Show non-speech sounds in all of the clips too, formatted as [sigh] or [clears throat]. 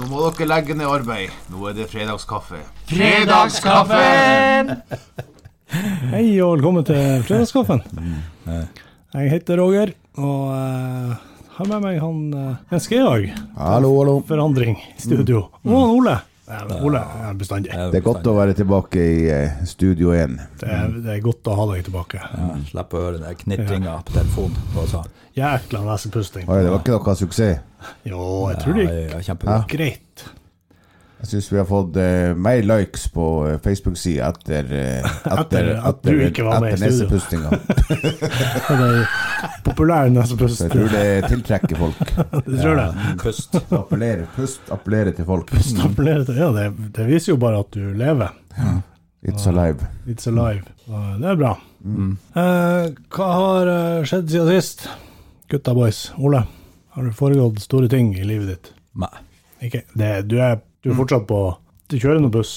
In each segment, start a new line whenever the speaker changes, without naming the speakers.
Nå må dere legge ned arbeid. Nå er det fredagskaffe.
Fredagskaffen!
Hei Mm, og velkommen til fredagskaffen. Jeg heter Roger og eh, har med meg han uh, Jens Georg,
Hallo, hallo.
forandring, i studio. Og han Ole. Mm. Ja, men Ole er bestandig.
Det er godt å være tilbake i eh, Studio 1.
Det er, det er godt å ha deg tilbake.
Slipp å høre den der knitringa på telefonen. Og så.
Jækla nesepusting.
Oi, det var ikke noe suksess.
Jo, jeg tror det
Ja,
gikk
ja, kjempebra.
greit.
Jeg syns vi har fått eh, mer likes på eh, Facebook-sida etter, eh,
[laughs] Etter at du ikke var med i
etter
studio.
nesepustinga.
Det er populær nesepust.
Så jeg tror det tiltrekker folk.
Du tror det?
Pust.
Appellere, pust appellerer til folk.
Stabler det- Ja, det, det viser jo bare at du lever.
It's alive.
It's alive. Og det er bra.
Mm.
Eh, hva har eh, skjedd siden sist? Gutta boys. Ole, har det foregått store ting i livet ditt?
Nei.
Ikke? Det, du, er, du er fortsatt på Du kjører noe buss.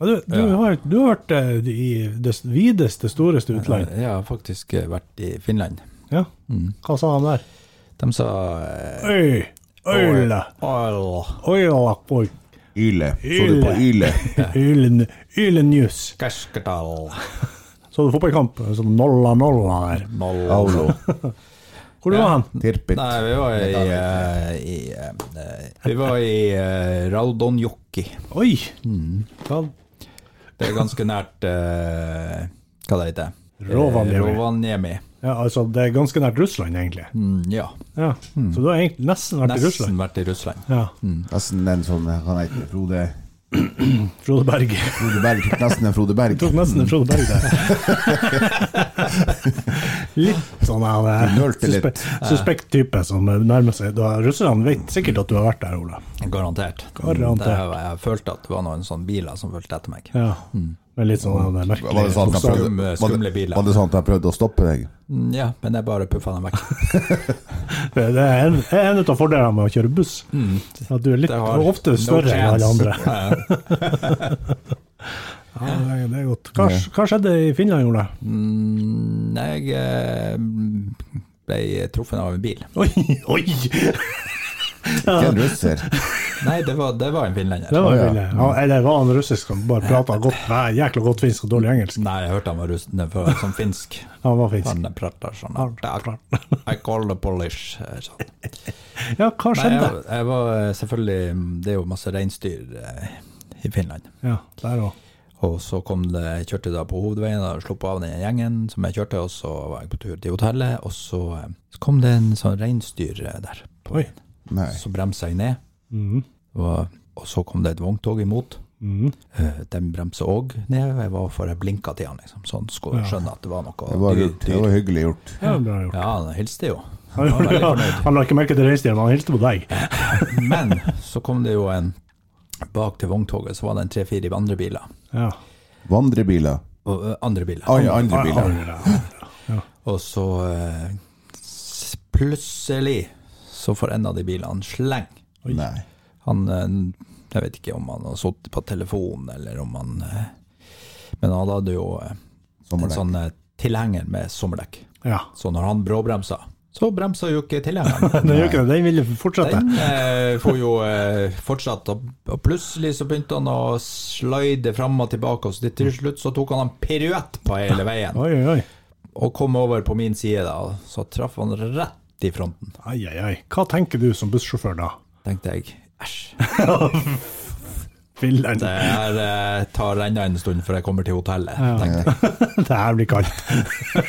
Men du, du,
Mm. Ja.
har, du har vært eh, i det videste, storeste utland.
Jeg har faktisk eh, vært i Finland.
Ja. Hva sa han der?
De sa Mm. eh,
Øy! Øyle!
Ål.
Øyle, boy.
Yle. Så du på Yle?
Ylen- Ylen news.
Kasketal.
Så du fotballkamp? Sånn nolla nolla der.
Noll.
[laughs]
Aulo.
Hvor du var han?
Tirpit.
Nei, vi var i, eh, i eh, Vi var i eh, Raudonjoki.
Oi!
Hva? Det er ganske nært eh, Hva det heter det?
Rovaniemi.
Rovaniemi.
Ja, altså, det er ganske nært Russland, egentlig.
Mm, ja.
Ja. Så du har egentlig nesten vært i
Nesten
Russland?
vært i Russland.
Ja.
Nesten den som eh, Han heter Frode
Frode Berg.
Frode Berg. Nesten en Frode
[laughs]
Berg.
Tok nesten en Frode Berg der. litt sånn han eh,
Nølte litt.
suspe- suspekt type som eh, nærmer seg da, Russerne vet sikkert at du har vært der, Ola.
Garantert.
Garantert.
Det, jeg, jeg følte at det var noen sånne biler som fulgte etter meg.
Ja. Men litt sånn han, eh,
Var det
merkelig
sånn at han
Skum-
prøvde- var
skumle
det-
biler.
var det sånn at han prøvde å stoppe deg?
Mm, Ja, men jeg bare puffa dem vekk. [laughs]
Det er en, det er en av fordelene med å kjøre buss. At du er litt
Det har
ofte
no
større enn alle
chance.
andre. [laughs] Ja, det er- det er godt. Hva, hva skjedde i Finland, Ola?
Mm, Jeg eh, ble truffet av en bil.
Oi, oi!
Ikke en russer.
Nei, det var, det var en finlender.
Det var
Å, ja.
ville. Ja, eller var han russisk som bare prata godt, nei, jækla godt finsk og dårlig engelsk?
Nei, jeg hørte han var rusten for, som finsk.
Han var finsk.
Han prater sånn I call the Polish. eh, Sånn.
Ja, hva
Nei,
skjedde?
jeg, jeg var eh, selvfølgelig mm, Det er jo masse reinsdyr eh, i Finland.
Ja, der òg.
Og så kom det, jeg kjørte da på hovedveien og slo på av den gjengen som jeg kjørte, og så var jeg på tur til hotellet, og så, eh, så kom det en sånn reinsdyr eh, der. På,
Oi.
Nei.
Så bremsa jeg ned,
Mhm.
og, og så kom det et vogntog imot.
Mhm.
Eh, Den bremsa òg ned, og jeg var for jeg blinka til han, liksom, så han skulle skjønne at det var noe
Det var,
dyr-
lurt. det var hyggelig gjort.
Det var bra gjort.
Ja, han hilste jo.
Han,
var veldig
gjorde-
fornøyd.
han la ikke merke til reinsdyret, men han hilste på deg.
Men så kom det jo en Bak til vogntoget så var det en tre-fire andre biler.
Ja.
Vandrebiler.
Og, eh, andre biler.
Ai, andre biler.
Og så eh, s- plutselig så får en av de bilene sleng.
Nei.
Han eh, Jeg vet ikke om han har sittet på telefonen, eller om han eh, Men han hadde jo eh, en
Sommerdekk.
sånn eh, tilhenger med sommerdekk.
ja.
Så når han bråbremsa, så bremsa jo ikke
[laughs]
tilhengeren.
Den gjør ikke det. Den ville fortsette.
Den eh, får jo eh, fortsatt, og, og plutselig så begynte han å slide fram og tilbake, og så til slutt så tok han en piruett på hele
[laughs]
veien,
Oi, oi, oi.
og kom over på min side da, og så traff han rett i fronten.
Ai, ai, ai. Hva tenker du som bussjåfør da?
tenkte jeg æsj,
Villen. [laughs]
det
Det
her eh, tar enda en stund før jeg kommer til hotellet. tenkte jeg.
her blir kaldt.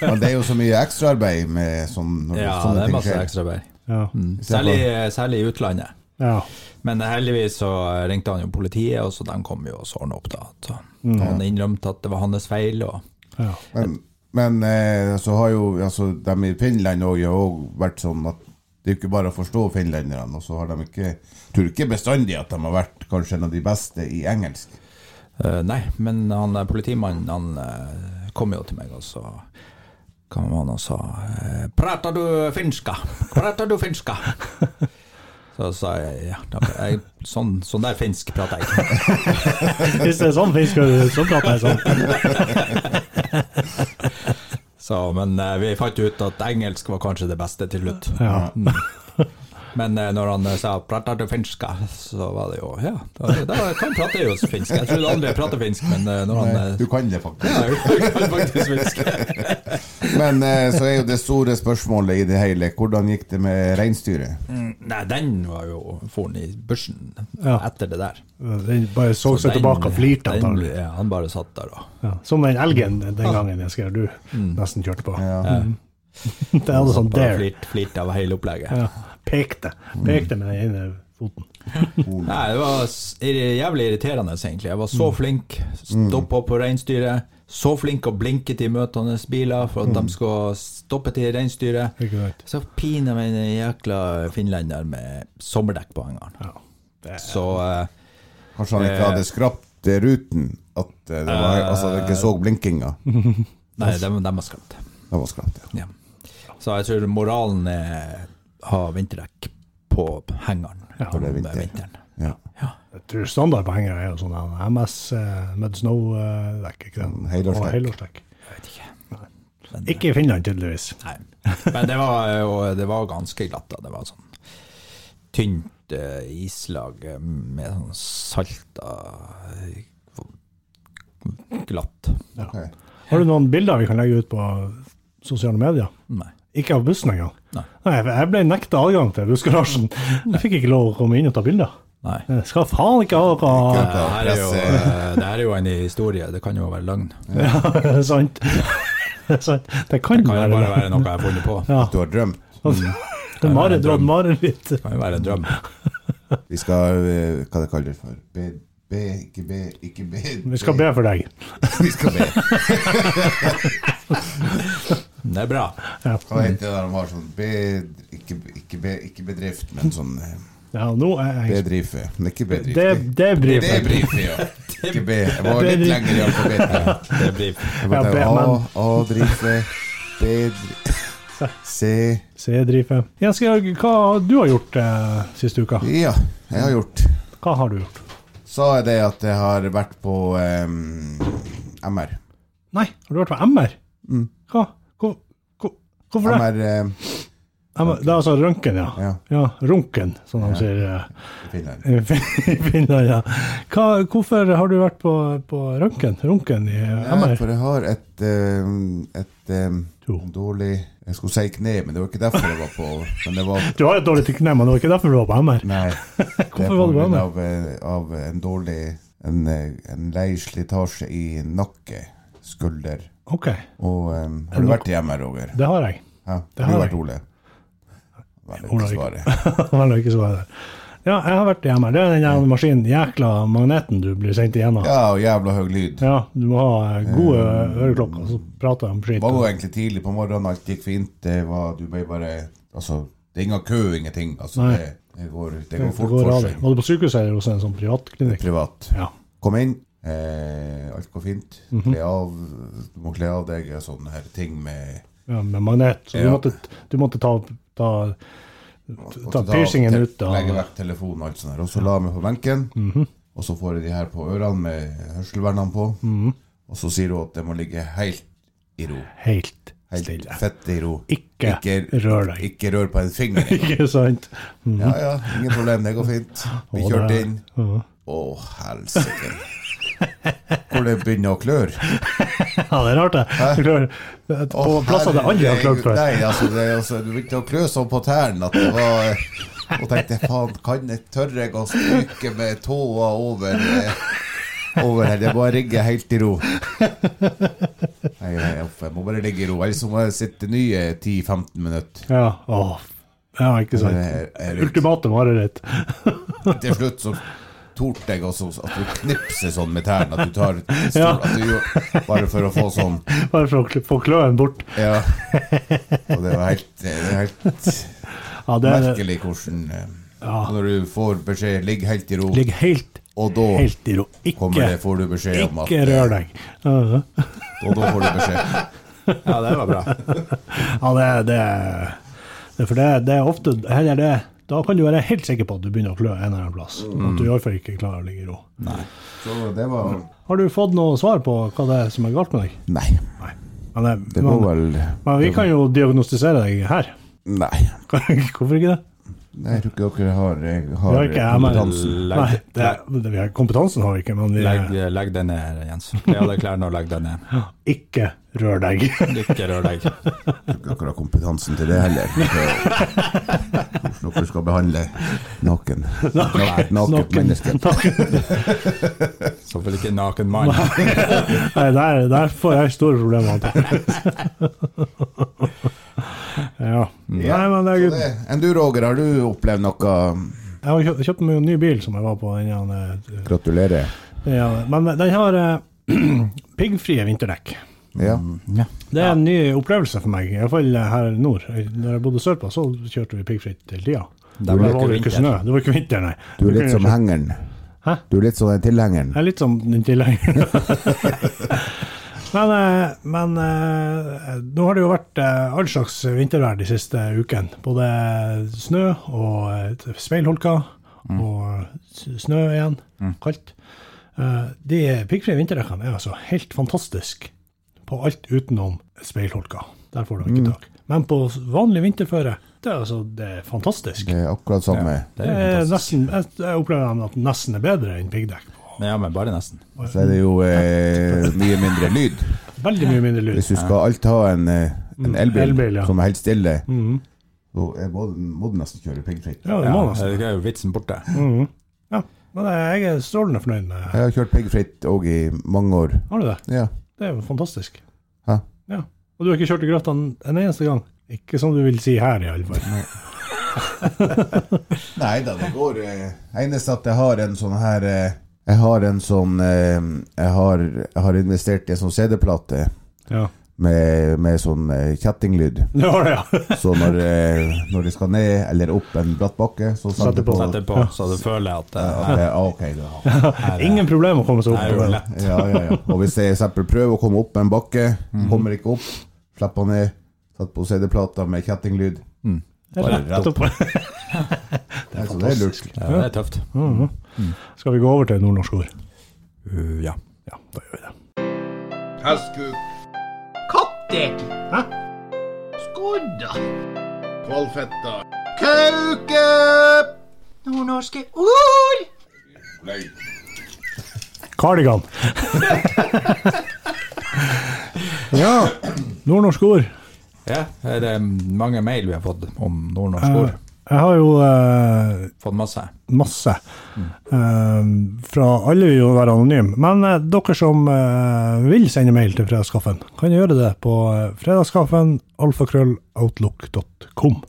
Men det er jo så mye ekstraarbeid med sånn, når
Ja,
sånne
det er
ting
masse
skjer.
ekstraarbeid.
Ja.
Særlig, eh, særlig i utlandet.
ja.
Men heldigvis så ringte han jo politiet, og så de kom jo og så han opp da. Så han innrømte at det var hans feil, og
ja.
Men, men eh, så har jo altså, de i Finland også, har òg vært sånn at det er jo ikke bare å forstå finlenderne. Og så har de ikke Jeg tror ikke bestandig at de har vært kanskje en av de beste i engelsk.
Eh, nei, men han eh, politimannen han eh, kom jo til meg, og så kom han og sa eh, 'Prater du finska? Prater du finska?' Så sa jeg ja, da, jeg, sånn, sånn der finsk prater jeg.
Hvis det er sånn fisk, så prater jeg sånn.
[laughs] Så, men eh, vi fant jo ut at engelsk var kanskje det beste til slutt.
[laughs] Ja.
Men eh, når han eh, sa 'prater du finska', så var det jo Ja, da, da kan prate jo finsk. Jeg trodde aldri jeg prater finsk, men eh, når han eh,
Du kan det faktisk.
ja, jeg kan faktisk finsk.
Men eh, så er jo det store spørsmålet i det hele, hvordan gikk det med reinsdyret?
Mm, Nei, den var jo foren i børsen
Ja.
etter det der.
Den bare så
Så
seg
den-
tilbake og flirte
den
antagelig.
ble- Ja, han bare satt der og
Ja. Som den elgen den gangen jeg skrev du nesten kjørte på. Mm.
Ja.
[laughs] Det hadde sånn
bare
dare.
flirt, flirte av hele opplegget.
Ja. Pekte. Pekte med den ene foten.
Nei, det var s- irri- jævlig irriterende, egentlig. Jeg var
Mm.
så flink, stoppa på reinsdyret. Så flink å blinke til møtende biler for at
Mm.
de skal stoppe til reinsdyret.
Ikke sant?
Så pina meg en jækla finlender med sommerdekk på hengeren.
Ja. Det-
Så eh,
Kanskje han ikke hadde skrapt eh, ruten? At eh, det var, altså, han ikke så blinkinga?
Nei, dem, dem har skremt.
Det var skrapt, ja.
Ja. Så jeg tror moralen er ha vinterdekk på hengeren
Ja,
det er
om
vinter.
vinteren.
ja.
Jeg tror standard på hengere er jo sånn en MS eh, Mud Snow-dekk. ikke sant?
Mm, helårsdekk.
Og helårsdekk.
Jeg vet ikke.
Ikke i Finland, tydeligvis.
Nei. Men det var jo det var ganske glatt. da. Det var sånn tynt eh, islag eh, med sånn salta eh, glatt.
Ok.
Har du noen bilder vi kan legge ut på sosiale medier?
Nei.
Ikke av bussen engang.
Nei.
Nei, for jeg ble nekta adgang til bussgarasjen. Jeg fikk ikke lov å komme inn og ta bilder.
Nei.
Jeg skal faen ikke ha
Det
hva
her, er jo, eh, det her er jo en historie, det kan jo være løgn. Det
ja, [laughs] sant. sant. Det kan,
kan jo
være
bare
det.
være noe jeg har funnet på.
Ja.
Du har drømt.
Det er Mare, du hadde mareritt.
Det kan jo være en drøm.
Vi skal eh, Hva det kaller det for? Be, be, ikke be, ikke be.
Vi skal be for deg.
[laughs] Vi skal be.
Det er bra.
Hva heter det der de har sånn be, ikke, ikke, be, ikke bedrift, men sånsånn eh,
Ja, nå er jeg
bedrife. Men ikke E. bedrift.
Det, det
Det
bryr
er
meg.
brife, E, ja.
E.
Ikke be. Jeg var litt
Bedrift.
lenger i alfabetet.
Det blir
Jeg
Ja,
bare
be-
tenker,
men-
A, A, drife, B, dri- C
Se, driver. Jens Georg, hva har du har gjort eh, siste uka?
Ja, jeg har gjort.
Hva har du gjort?
Så er det at jeg har vært på eh, em, MR.
Nei, har du vært på MR?
Mm.
Hva? Hvor, hvor, hvorfor det?
MR em,
MR. Det er altså røntgen, ja.
eh, Ja.
Runken, som de sier
i Finland.
eh, [laughs] i Fin- i Finland. Ja. Hva, hvorfor har du vært på, på røntgen? Runken i eh,
Ja,
MR?
for jeg har et, em, et em,
To.
dårlig Jeg skulle si kne, men det var ikke derfor jeg var på Men det var
Du har et dårlig kne, men det var ikke derfor du var på MR. [laughs]
Nei.
Hvorfor var du på
grunn
MR?
av, eh, av en dårlig En, eh, en lei slitasje i nakke, skulder
Ok,
og em, Har du vært i MR, Roger?
det har jeg. [laughs]
Ja,
Det
har du
har
vært
jeg.
Ole? Nei, det er
Ole
ikke
har ikke.
svaret.
Vel, ikke så var det. Ja, jeg har vært i MR. Det er den jævla maskinen, jækla magneten du blir sendt igjennom. Ja.
Ja, og jævla høy lyd.
du må ha eh, gode øreklokker, så prater de om
Det var jo
skitt.
egentlig tidlig på morgenen, alt gikk fint. Det var, du ble bare Altså, det er ingen kø, ingenting. Altså,
Nei.
det, det, går, det
Det
går fort
går
for
av deg.
seg.
Var du på sykehuset eller hos en sånn privatklinikk?
Privat.
Ja.
Kom inn, eh, alt går fint.
Mhm.
Kle av, du må kle av deg og sånne her ting med
ja, med magnet. Så du
Ja.
måtte, du måtte ta, ta
og
Ta
så
piercingen
te-
ut Mhm. av-
Legge vekk telefonen og alt sånt. der. Og så la jeg meg på benken, og så får jeg de her på ørene med hørselvernene på.
Mhm.
Og så sier hun at jeg må ligge helt i ro.
helt
Helt
stille. [laughs]
fett i ro.
Ikke, rør deg.
Ikke rør på en finger.
Ikke sant? Mm.
Ja, ja, ingen problem, det går fint. Vi
Å,
kjørte
det-
inn.
Ja.
Å, helsike. Hvor det begynner å klør.
Ja, det er rart, det. Du klarer-
Å,
På plasser det aldri har klart
herregud.
før.
Nei, altså, det, altså, du begynte å klø sånn på tærne at det var Og tenkte faen, kan jeg tørre jeg å stryke med tåa over eh, over her? Det bare rigger helt i ro. Nei, nei, uff, jeg må bare ligge i ro. Ellers så må jeg sitte nye 10-15 minutter.
Ja, åh. ja ikke
Det
sant?
er- er-
Ultimate mareritt.
til slutt så torde jeg også at du knipser sånn med tærne. At du
[laughs]
tar stol,
Ja.
at du gjør, Bare for å få sånn
Bare for å kl- få kløen bort.
Ja. Og det er helt, det er helt
Ja, det er
merkelig hvordan eh, Når du får beskjed 'ligg helt i ro',
Ligg helt,
og da
helt i ro.
kommer det,
Ikke,
får du beskjed om at eh,
ikke rør deg. Uh-huh. Ja,
Og da får du beskjed.
Ja, det var bra.
Ja, det er det, er- det er For det, det er ofte heller det Da kan du være helt sikker på at du begynner å klø en eller annen plass.
Mm.
At du iallfall ikke klarer å ligge i ro.
Så det var
Har du fått noe svar på hva det er som er galt med deg?
Nei.
Nei. Men, det-
Det
men,
var vel
men vi kan jo diagnostisere deg her. [laughs]
Nei.
Hvorfor ikke det?
Nei, jeg tror ikke dere har, eh,
Vi
har
har ikke jeg, men
kompetansen.
Nei, det, det, vi har, kompetansen har vi ikke, men vi
Legg, legg deg ned, Jens. Kle av deg klærne og legg deg ned.
ikke rør deg.
Ikke rør deg.
Jeg tror ikke dere har kompetansen til det heller. Så,
[laughs]
hvordan dere skal behandle naken Naken, naken menneske.
Så vel ikke naken mann.
Nei, der, der får jeg store problemer. antar jeg. [laughs] ja. Nei, men det er
Så
gutt.
det, Enn du, Roger, har du opplevd noe
Jeg har kjøpt, kjøpt meg en ny bil som jeg var på. Den, her,
Gratulerer.
eh, den, her- men den har eh, [clears throat] piggfrie vinterdekk.
Ja.
Det er en ny opplevelse for meg, iallfall her nord. Når jeg bodde sørpå, så kjørte vi piggfritt hele tida.
Der
Det
var det
var ikke
ikke vinter.
snø. Det var ikke vinter, nei.
Du er
kunne
litt som
kjøre-
hengeren.
Hæ?
Du er litt som den tilhengeren.
Jeg er litt sånn den
[laughs]
tilhengeren. men eh, men eh, nå har det jo vært eh, all slags vintervær de siste ukene. Både snø og eh, speilholker
Mm.
og s- snø igjen. Kaldt. Eh, De piggfrie vinterdekkene er altså helt fantastisk på alt utenom speilholka. Der får du
Mm.
ikke tak. Men på vanlig vinterføre, det er altså det er fantastisk.
Det er Eh, akkurat samme.
Det
Det
er
er
fantastisk.
nesten, jeg, jeg opplever at den nesten er bedre enn piggdekk. på
Ja, men bare nesten.
Så er det jo eh, mye mindre lyd.
Veldig mye mindre lyd.
Hvis du skal alt ha en, eh, en elbil,
Mm, elbil, ja.
som er helt stille, så er- må den- må du nesten kjøre piggfritt.
Ja, det
Ja,
må nesten. Mm.
det er jo vitsen borte.
Ja, men jeg er strålende fornøyd med
Jeg har kjørt piggfritt òg i mange år.
Har du det?
Ja.
Det er jo fantastisk.
Hæ?
Ja. Og du har ikke kjørt i grøfta en en eneste gang? Ikke som du vil si her, i alle fall.
Nei da, det går eh, Eneste at jeg har en sånn her eh, Jeg har en sånn eh, jeg, har, jeg har investert i en sånn CD-plate
Ja.
med, med sånn eh, kjettinglyd.
Det var det, ja.
Så når, eh, når de skal ned eller opp en bratt bakke, så
Setter
setter jeg på
Sett det på, så du føler at eh,
at jeg- ah, Ok, da.
Ingen problem å komme seg
det er
opp
jo
på det.
lett.
Ja, ja, ja. Og hvis jeg for eksempel prøver å komme opp en bakke,
Mhm.
kommer ikke opp, slipper ned, setter på CD-plata med kjettinglyd.
Rett opp.
Det er, så det er lurt.
Ja, det er tøft.
Mhm.
Mm.
Skal vi gå over til nordnorsk ord?
Uh, ja.
Ja, da gjør vi det.
Hestkuk. Kattek. Hæ? Skodda. Kvalfetta. Kauke. Nordnorske ord.
Nei.
[laughs]
Kardigan. ja. Nordnorsk ord.
ja, er det mange mail vi har fått om nordnorsk
Eh,
ord?
Jeg har jo eh,
Fått masse?
masse. Eh, fra alle vil jo være anonyme. Men eh, dere som eh, vil sende mail til Fredagskaffen, kan gjøre det på eh, fredagskaffen alfakrølloutlook.com.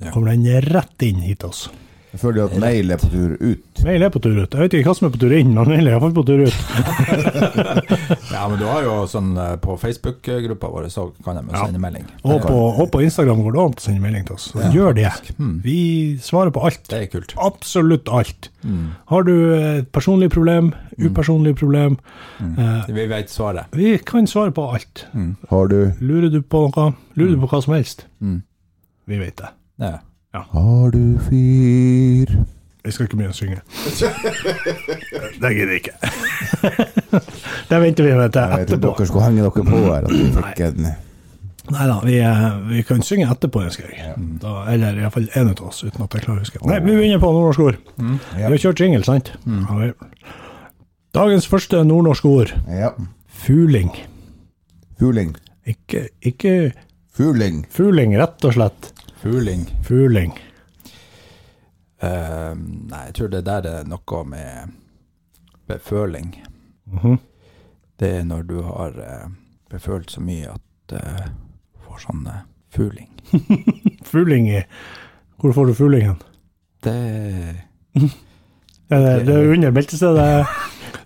Da kommer den rett inn hit til oss.
Jeg føler at mail er på tur ut.
Mail er på tur ut. Jeg vet ikke hva som er på tur inn, men mail er iallfall på tur ut.
Ja, men du har jo sånn eh, på Facebook-gruppa vår, så kan de sende melding.
Og på, og på Instagram går det an å sende melding til oss. Så Gjør det. Vi svarer på alt.
Det er kult.
Absolutt alt. Har du et personlig problem, upersonlig problem, eh,
Vi vet svaret.
vi kan svare på alt.
Har du
Lurer du på noe, lurer du på hva som helst, vi vet det.
Ja.
Har du fyr?
Jeg skal ikke begynne å synge. det gidder jeg ikke. [laughs] det venter vi med
Jeg
til
trodde
etterpå.
dere skulle henge dere på her. At vi fikk en
Nei da, vi, eh, vi kan synge etterpå, ønsker jeg. Da, eller iallfall én av oss, uten at jeg klarer å huske. Nei, vi begynner på nordnorsk ord. Vi har kjørt jingle, sant? Ja, vel. Dagens første nordnorske ord,
ja.
fuling.
Fuling.
Ikke, ikke
Fuling.
fuling, rett og slett.
Fuling.
Fuling.
Eh, nei, jeg tror det der er noe med, med føling.
Mhm.
Det er når du har eh, befølt så mye at eh, du får sånn eh, fuling.
Fuling i Hvor får du fuling hen?
Det
Er det, det er jo under beltestedet.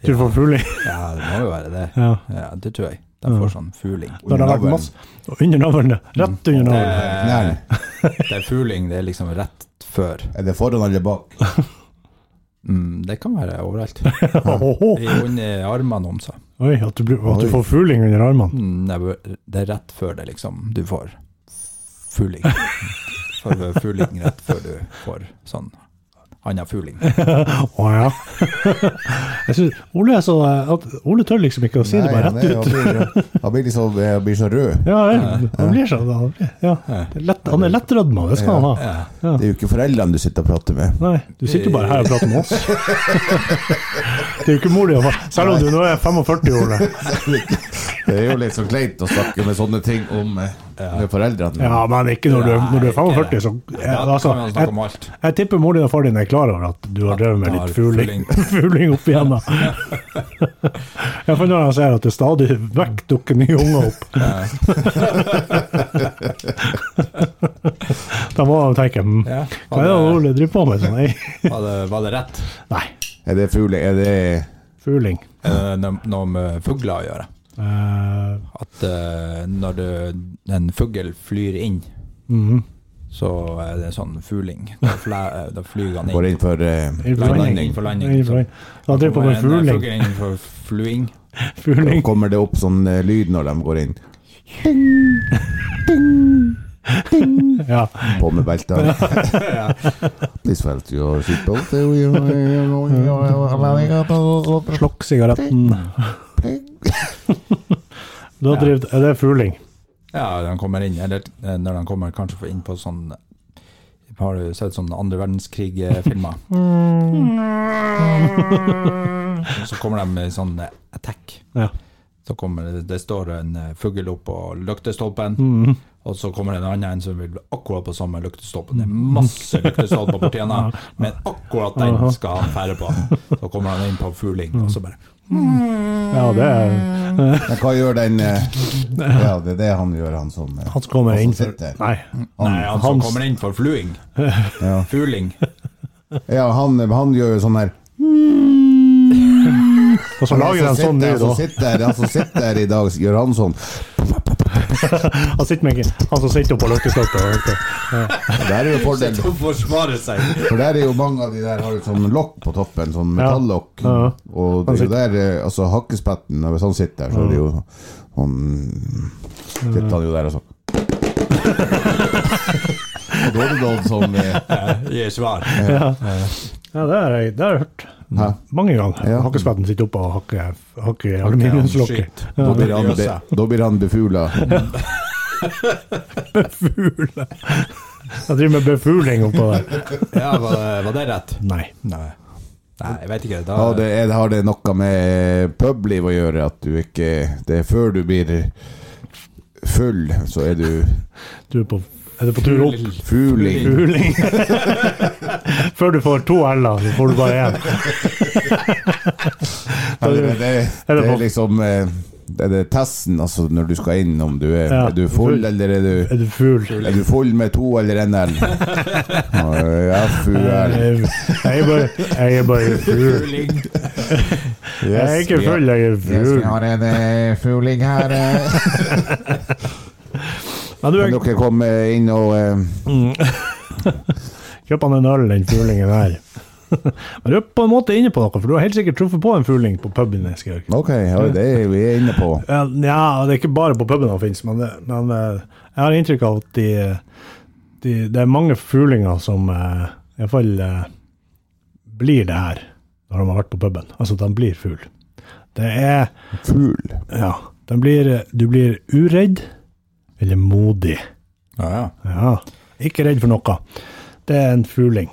Du får fuling.
Ja, det må jo være det.
Ja.
Ja, det tror jeg. De får sånn fuling.
Når det har vært masse og Under navlen. Rett under
Det,
navlen.
Nei.
det er fuling, det er liksom rett før.
Er det foran eller bak?
Mm, det kan være overalt.
Ohoho.
I under armene om seg.
Oi, at du, blir- at du får fuling under armene.
Mm, det er- det er rett før det liksom du får fuling. For fuling rett før du får sånn annen fuling.
Å ja. Jeg synes, Ole, er så, at, Ole tør liksom ikke å si det bare
han, er-
rett ut.
han blir, han blir, liksom, han blir så rød.
Ja, vel, han blir sånn. han blir- Ja, det er lett lett, han er lettrødma, det skal han ha.
Det er jo ikke foreldrene du sitter og prater med. [laughs]
Nei, du sitter jo bare her og prater med oss. det er jo ikke mor di og far, selv om du nå er 45 år. det.
Det er jo litt så kleint å snakke med sånne ting om eh, med foreldrene.
Ja, men ikke når du, er- når du er
Nei, ikke
45,
det.
så
Da
ja, altså,
kan man snakke om
jeg,
alt.
jeg tipper mor din og far din er klar over at du har drevet med
Ja,
litt fugling, [laughs] fugling opp
[laughs]
igjennom. Ja, for når han ser at det stadig vekk dukker nye unger opp, [laughs] da må han tenke hm,
Ja,
Hva er det
var,
Ole driver på med? Sånn? Nei.
det, var, det, var det rett?
Nei,
Er det fugler? Er det
fugling.
Er det no- noe eh, med fugler å gjøre?
Eh,
At eh, når du, en fugl flyr inn,
Mhm.
så er det sånn fugling. Da, flæ, da flyr han
Går
inn.
inn for eh,
Innenfor
Landing.
landing.
For
Nei,
landing.
ikke for
Så
meg. Han driver på med
kommer en, eh,
fugling.
fugl inn for flying.
Da
fugling.
kommer det opp sånn eh, lyd når de går inn.
Ja.
På med
[laughs]
beltene. Please felt your seatbelt. You- you- you- you- allowing up a-
Slokk sigaretten. [laughs] Da driver, er det fugling?
Ja, når han kommer inn, eller eh, når han kommer kanskje for- inn på sånn Har du sett sånn andre
[laughs]
verdenskrig-filmer?
Mm.
så kommer de med sånn eh, attack.
Ja.
Så kommer det, det står en eh, fugl opp på lyktestolpen,
Mm.
og så kommer det en annen en som vil akkurat på samme lyktestolpen. Det er
Mm.
masse lyktestolper på tjena, men akkurat den skal han fære på. Så kommer han inn på fugling, og så bare
ja, det er
Men hva gjør den eh, Ja, det er det han gjør, han som eh,
Han som kommer inn for
sitter.
Nei.
Nei, han som
Hans.
kommer inn
[laughs]
for fluing. Fugling.
Ja, han, han gjør jo sånn her.
Og så lager han sånn
sitter,
lyd
han som
òg.
sitter, han som sitter her i dag, gjør han sånn.
Han sitter med han som sitter oppå løkkestolpen. og hører på.
Og Der er jo fordelen,
Sitter og forsvarer seg.
for der er jo mange av de der har jo sånn lokk på toppen, sånn
Ja.
metallokk.
Ja.
Og det er jo der, eh, altså hakkespetten, hvis han sitter der, så er det jo sånn Sitter han jo der
[laughs]
og sånn. Og da er det noen som eh,
Gir [laughs] svar.
Ja, det har jeg det har jeg hørt.
Hæ?
Mange ganger.
Ja.
Hakkespetten sitter oppå og hakker, hakker i aluminiumslokket.
Shit.
Da blir han, be- da blir han befugla.
Fugle. Jeg driver med befugling oppå der.
Ja, var det, var det rett?
Nei.
Nei. Nei, jeg vet ikke. Da,
Ja, det er, har det noe med publiv å gjøre? At du ikke Det er før du blir full, så er du
Du er på, er du på tur opp?
fugling.
Fugling. [laughs] Før du får to L-er, så får du bare én.
Eller, det, det
Er det på-
er liksom eh, det er det testen, altså når du skal inn, om du er,
Ja.
er du full, eller er du
Er du fugl?
er du full med to eller en
[laughs]
L? Ja, FUL.
Jeg jeg er bare, jeg er bare fugl.
Fugling.
Jeg er ikke full, jeg er fugl.
en fugling her. eh.
Men du,
Kan dere komme inn og eh,
Kjøp han en øl, den fuglingen [laughs] der. Men du er på en måte inne på noe, for du har helt sikkert truffet på en fugling på puben. i Skjørg.
OK, ja, det er vi er inne på.
Eh, Nja, det er ikke bare på puben han finnes, men, det- men eh, jeg har inntrykk av at de, de, det er mange fuglinger som eh, i hvert fall eh, blir det her når de har vært på puben. Altså, de blir fugl. Det er
Fugl.
Ja. De blir, du blir uredd eller modig.
Ja, ja.
Ja. Ikke redd for noe. Det er en fugling.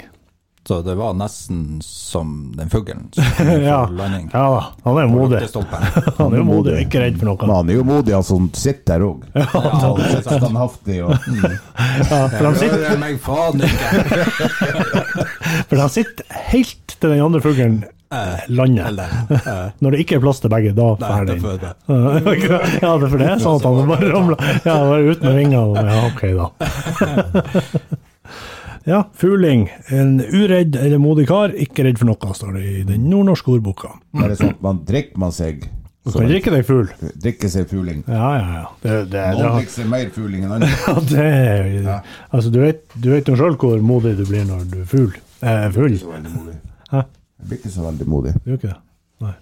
Så det var nesten som den fuglen [laughs] som kom for
Ja.
landing.
Ja da, han er
På
modig.
[laughs] lyktestolpen.
Han er jo modig og ikke redd for
Men
noe.
han er jo modig, han som sitter der òg.
Ja, det er sant.
Standhaftig og
Ja, for, han sitter,
Hører meg faen ikke!
for han sitter helt til den andre fuglen eh, lander.
[laughs] Eller, eh,
Når det ikke er plass til begge, da
nei,
drar
det
den.
får jeg det.
[laughs] Ja, det er for det er sånn at han bare ramler Ja, bare ut med vingene. Ja, ok, da. [laughs] Ja, fugling. En uredd eller modig kar, ikke redd for noe, står det i den nordnorske ordboka.
Er det sånn at man drikker man seg
Du kan drikke deg fugl.
Drikker seg fugling.
Ja, ja, ja. Det, det, det,
Noen drikker seg mer fugling enn andre.
[laughs] Ja, det er jo Altså, du vet, du vet jo sjøl hvor modig du blir når du er fugl. Eh, full.
Jeg
Hæ?
blir ikke så veldig modig.
Du er ikke det? Nei.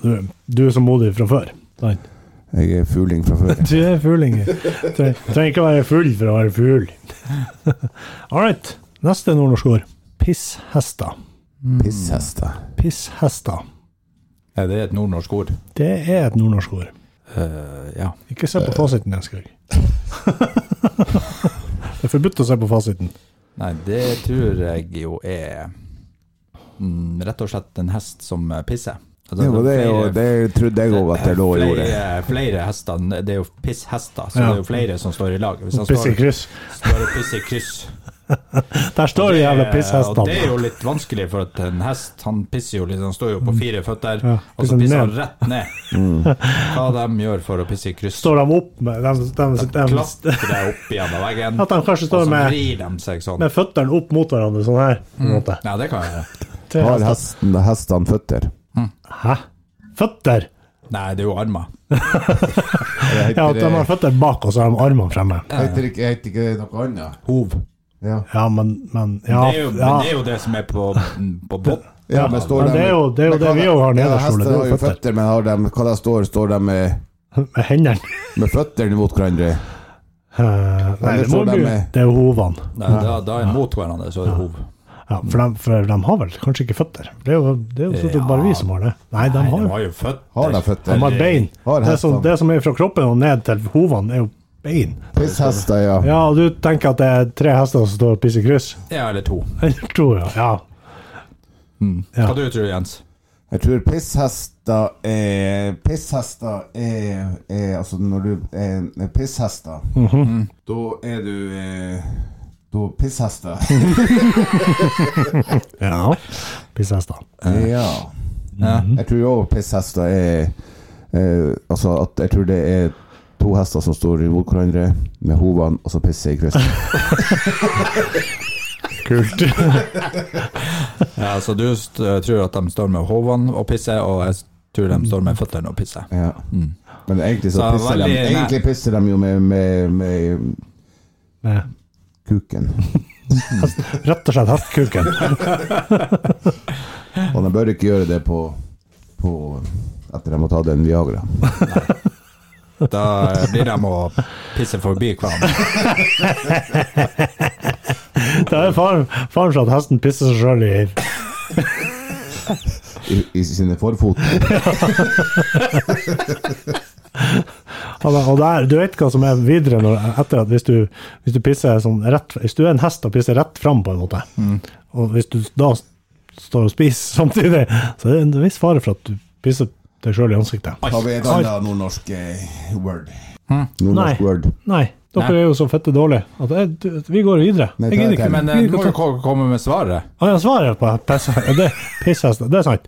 Du, er- du er så modig fra før. Sant?
Jeg er fugling fra
[laughs]
før.
Du er fugling. Tre- Trenger ikke å være full [laughs] for å være fugl. All right. Neste nordnorsk ord. Pisshester.
Pisshester.
Pisshester.
Ja, det er et nordnorsk ord.
Det er et nordnorsk ord.
Eh, ja.
[laughs] Ikke se på fasiten, jeg skal. Det er forbudt å se på fasiten.
Nei, det tror jeg jo er mm, rett og slett en hest som eh, pisser. Altså,
Ja, men det, er jo-
flere-
det trodde jeg òg at det lå i ordet.
Flere, flere hester, det er jo pisshester, så
Ja.
det er jo flere som står i lag. Hvis han
Piss i
står,
kryss.
står og pisser i kryss
[laughs] Der står de jævla
Og det er
pisshestene.
jo litt vanskelig, for at en hest han pisser jo litt, han står jo på fire føtter,
Mm. Ja,
og så
pisser
pisser han
ned.
rett
[laughs]
ned.
Mm.
Hva de gjør for å pisse i kryss?
Står de opp med de, de, de,
Klatre deg opp igjen av veggen,
At de kanskje
og
står
så
med,
vrir de seg sånn.
med føttene opp mot hverandre sånn her. på en måte.
Ja, Mm. det kan jeg gjøre.
Tre
Har
hester.
hesten, hestene føtter?
Hæ? Føtter?
Nei, det er jo armer.
Ja, at de har føtter bak, og så har de armene fremme.
Heter ikke, heter ikke det noe annet?
Hov.
Ja.
Ja, men, men ja,
det, er jo, men
ja.
det er jo det som er på, på båt.
Ja, men står
men
de-
det er jo- det er jo
Men
det
hva
vi
da-
jo har nederst,
Ja, hester
Ole, det er
har
jo
jo
føtter.
føtter, men har de, hva da står, står de med,
Med hendene. [laughs]
med føttene mot hverandre?
Eh, Nei, det,
Eller
må
står de
du,
med-
det er jo hovene.
Nei, da, da er mot hverandre, så er det hov.
Ja, for, de, for de har vel kanskje ikke føtter? Det er jo, det er jo sånn at
Ja.
bare vi som har det. Nei, de
Nei,
har
de
jo
har jo føtter.
Har de
de
føtter?
har bein.
Har
Det som,
hestene.
det som er fra kroppen og ned til hovene, er jo bein.
Pisshester, ja.
Ja, og du tenker at det er tre hester som står og pisser kryss? [laughs]
Ja, eller to.
Jeg tror jeg, ja. Ja.
Hva du tror du, Jens?
Jeg tror pisshester er Pisshester er, er Altså, når du er er pisshester,
Mhm.
da er du eh, Da
[laughs]
pisshester.
Ja. Pisshester.
ja. Jeg tror òg pisshester er eh, Altså, at jeg tror det er to hester som står imot hverandre med hovene, og så pisser i kryss.
Kult. [laughs]
Ja, så du st tror at de står med hovene og pisser, og jeg s- tror de står med føttene og pisser.
Ja. Men egentlig så,
Så
pisser
veldig-
de
nei.
Egentlig pisser de jo med, med, med
Nei,
[laughs]
kuken.
Rett og slett hestekuken.
Og de bør ikke gjøre det på, på etter de har tatt en Viagra.
Da eh, blir de å pisse forbi hverandre.
[laughs] Det er faren, faren for at hesten pisser seg sjøl i
i, i sine forfot.
Og der- Og der, du vet hva som er videre når, etter at hvis du, hvis du pisser sånn rett Hvis du er en hest og pisser rett fram, på en måte,
Mm.
og hvis du da s- står og spiser [laughs] samtidig, så er det en viss fare for at du pisser deg sjøl i ansiktet.
Har vi et annet nordnorsk eh, word? Nordnorsk
Nei.
word.
Nei, dere
Nei.
er jo så fette dårlige at jeg, du, vi går videre.
Nei,
jeg
ta
gidder
det
ikke.
til.
Men eh,
jeg
du
gidder
må
ikke å
jo ko- komme med svaret.
Ja, jeg svarer på piss- det, pisshester. Det er sant.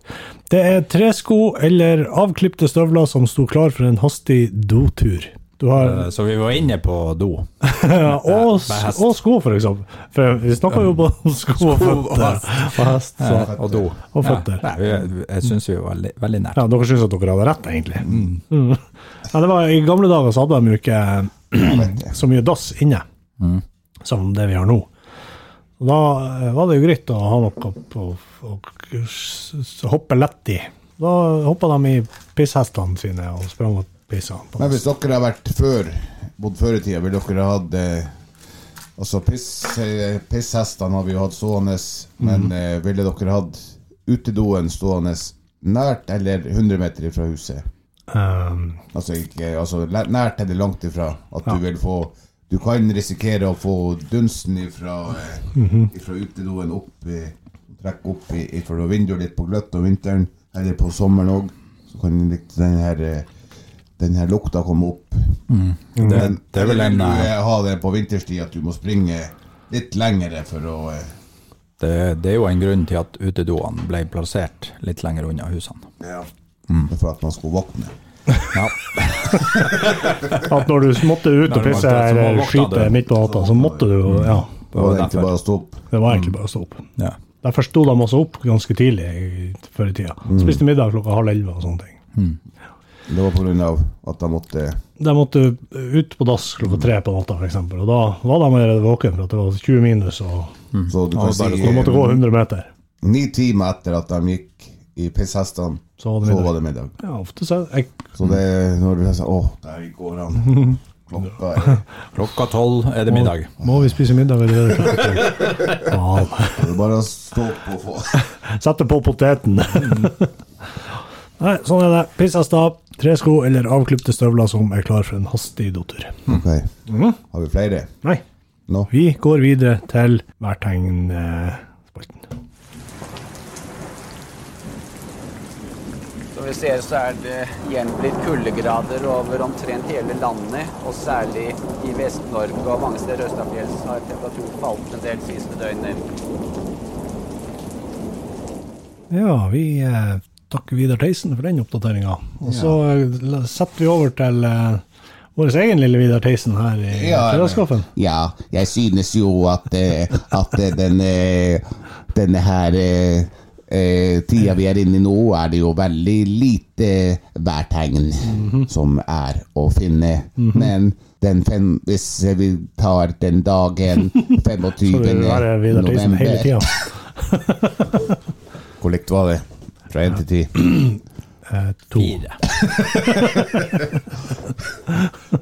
Det er tresko eller avklipte støvler som sto klar for en hastig dotur. Du har,
Eh, Så vi var inne på do.
og,
med hest.
og sko, for eksempel. For vi snakker jo både om [laughs] sko og føtter. Og hest. Så.
Eh, Og do.
Og føtter.
Ja, nei, vi, jeg syns vi var veldig, veldig nært.
Ja, dere syns at dere hadde rett, egentlig. Mm. Ja, det var, I gamle dager så hadde de jo ikke [clears throat] så mye dass inne Mm. som det vi har nå. Og Da eh, var det jo greit å ha noe på, å s- s- hoppe lett i. Da hoppa de i pisshestene sine og sprang og pissa. på
Men
dass.
hvis dere har vært før, bodd før i tida, ville dere hatt eh, Altså, piss, eh, pisshestene har vi jo hatt stående, men eh, ville dere hatt utedoen stående nært eller 100 meter fra huset?
Um,
Altså, ikke, altså læ- nært eller langt ifra. At du vil få Du kan risikere å få dunsten ifra, eh, ifra utedoen opp i- Trekk opp i- ifra vinduet litt på gløtt om vinteren, eller på sommeren òg. Så kan litt den her eh, den her lukta komme opp.
Mm.
Men
det er vel
eller vil
en,
du
eh,
eh, ha det på vinterstid at du må springe litt lengre for å eh,
Det, det er jo en grunn til at utedoene ble plassert litt lenger unna husene.
Mm. For at man skal våkne.
Ja.
at når du måtte ut
Når
og
du
pisse
måtte, så må
eller
vokta
skyte
du.
midt på natta, så måtte du jo Ja.
Det var egentlig bare å stå opp.
Det var egentlig bare å stå opp.
ja.
Derfor sto de også opp ganske tidlig i- før i tida. Spiste middag klokka halv elleve og sånne ting.
Det var pga. at jeg måtte
De måtte ut på dass klokka tre på natta, f.eks. Og da var de allerede våken for at det var 20 minus, og
Mm.
Så du kan si
de måtte gå 100 meter.
Ni timer etter at de gikk i pisshestene,
Så var det
så
middag.
var det middag.
Ja, ofte så jeg,
Så det når du sier 'Å, der går han'. Klokka er
Klokka tolv er det middag.
Må vi spise middag allerede klokka tre? Faen.
Det er bare å stå opp og få
Sette på poteten. Nei, sånn er det. Pisshester, tresko eller avklipte støvler som er klar for en hastig dotur.
Ok. Har vi flere?
Nei.
Nå.
Vi går videre til værtegnspalten.
Som vi ser så er det igjen blitt kuldegrader over omtrent hele landet, og særlig i Vest-Norge og mange steder østafjells har temperaturen falt en del siste døgnet.
Ja, vi eh, takker Vidar Theisen for den oppdateringa. Og så eh, la- setter vi over til eh, vår egen lille Vidar Theisen her i
Ja, jeg-
fredagskaffen.
Ja, jeg synes jo at, eh, at eh, den, eh, denne her eh, eh, tida vi er inne i nå, er det jo veldig lite værtegn som er å finne. Men den fem, hvis vi tar den dagen 25.
Skal du være Vidar Theisen hele
november
tida?
Hvor likt var det? Fra 1 til 10?
Eh, to.
Fire.
[laughs]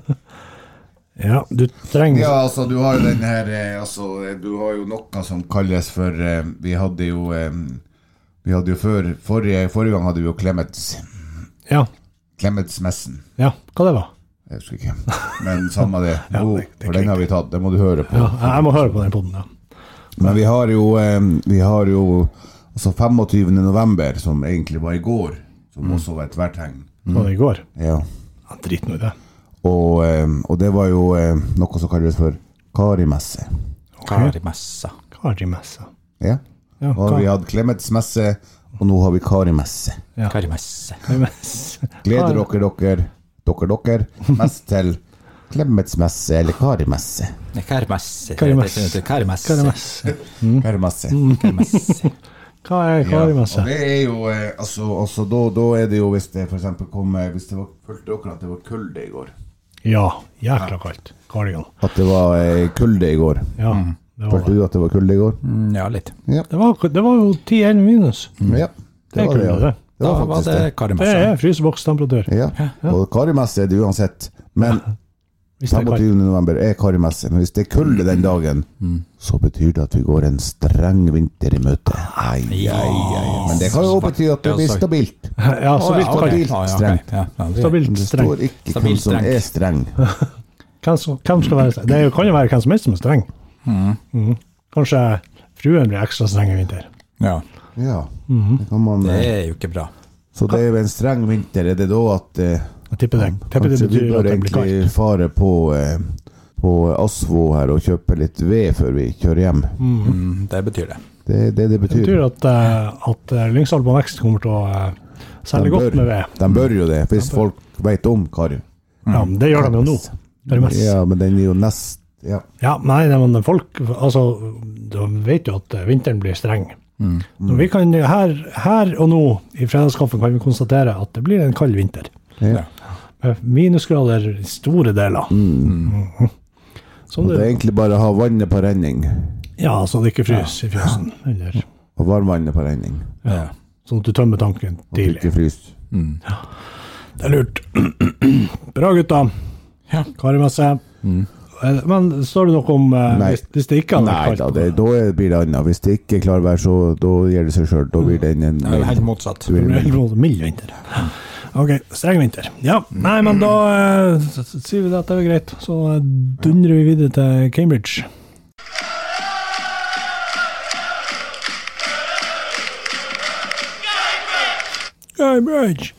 Ja, du trenger
Ja, altså, du har jo den her eh, altså, eh, Du har jo noe som kalles for eh, Vi hadde jo eh, Vi hadde jo før Forrige, forrige gang hadde vi jo Clemets
Ja.
Clemetsmessen.
ja. Hva det var?
Jeg husker ikke. Men samme
[laughs]
det. Jo,
det- det
for den har vi tatt. Det må du høre på.
Ja, jeg må høre på den poden, ja.
Men vi har jo, eh, vi har jo altså 25. november, som egentlig var i går, som også var et værtegn.
Var det i går?
Ja.
Mm. Ja, Drit nå i det.
Og, eh, og det var jo eh, noe som kalles for Karimesse.
Karimessa.
Karimessa.
Ja.
Ja,
Nå har vi hatt Clemetsmesse, og nå har vi Karimesse.
Karimessa.
Karimessa.
Gleder dere dere, dere dere, mest til Clemetsmesse eller Karimesse.
Nei, Karimessa.
Karimessa.
Det heter Karimessa.
Karimessa.
Karimesse.
Karimessa.
Hva er karimessa?
Og det er jo, eh, altså, altså da, da er det jo hvis det for eksempel kom, eh, hvis det var, følte dere at det var kulde i går.
Ja, jækla kaldt. Kardigan.
At det var eh, kulde i går.
Ja, det var
Følte
det.
du at det var kulde i går?
Mm, Ja, litt.
Det var, det var jo 10-11 minus.
Ja.
Det er kulde, det.
Det
Da
var
var
faktisk det.
det
Det
Karimessa.
er frysebokstemperatur.
Ja. Og karimesse er det uansett. Men
Hvis det er kaldt.
25. november er karimesse. Men hvis det er kulde den dagen, så betyr det at vi går en streng vinter i møte. Ai, ai, ai. Men det kan jo også bety at det blir stabilt.
[laughs] Ja, så vilt
Å,
og kaldt.
ja, ok.
strengt.
Ja, ja, det-
Stabilt
Det
streng.
står ikke hvem
Stabilt
som
streng.
er streng.
Hvem som hvem skal være streng? Det er jo- kan jo være hvem som helst som er streng.
Mm.
Mhm. Kanskje fruen blir ekstra streng i vinter.
Ja,
Ja.
Mhm.
Det kan man,
det
eh,
er jo ikke bra.
så det er jo en streng vinter. Er det da at eh,
Jeg tipper det, tipper det
Kanskje vi
betyr at
bør
det blir kaldt.
egentlig fare på, eh, på Asvo her og kjøpe litt ved før vi kjører hjem.
Mm, det betyr det.
Det er det det
Det
betyr.
betyr at, uh, at eh, Lyngsalpa Vekst kommer til å eh, selge godt med ved.
de bør jo det, hvis folk veit om Kari.
Ja, men det gjør de jo nå. Det er det mest.
Mm. Ja, men den er jo nest ja.
Ja, nei, nei, men folk altså, De vet jo at eh, vinteren blir streng.
Mm.
Når vi kan, her, her og nå i fredagskaffen kan vi konstatere at det blir en kald vinter.
Ja.
Med Eh, minusgrader i store deler. Mhm. Som
Mm. Og det er
det,
egentlig bare å ha vannet på renning.
ja, så det ikke fryser i fjøsen. Eller,
Og varmvannet på renning.
Ja.
sånn at du tømmer tanken
Og
tidlig.
ikke fryse.
Det er lurt. [clears throat] Bra, gutta.
Ja.
Karimesse. Eh, Men står det noe om eh,
Mm. Nei.
hvis, hvis det ikke hadde
Nei
vært
da,
kaldt?
det, da er- blir det annet. Hvis det ikke er klarvær, så da gir det seg sjøl. Da blir den en
Mm. Det er helt motsatt.
blir
Det
en-
blir en mild vinter. OK, streng vinter. Ja, nei, men da eh, s- s- sier vi det at det er greit. Så eh, dundrer vi videre til Cambridge. Cambridge.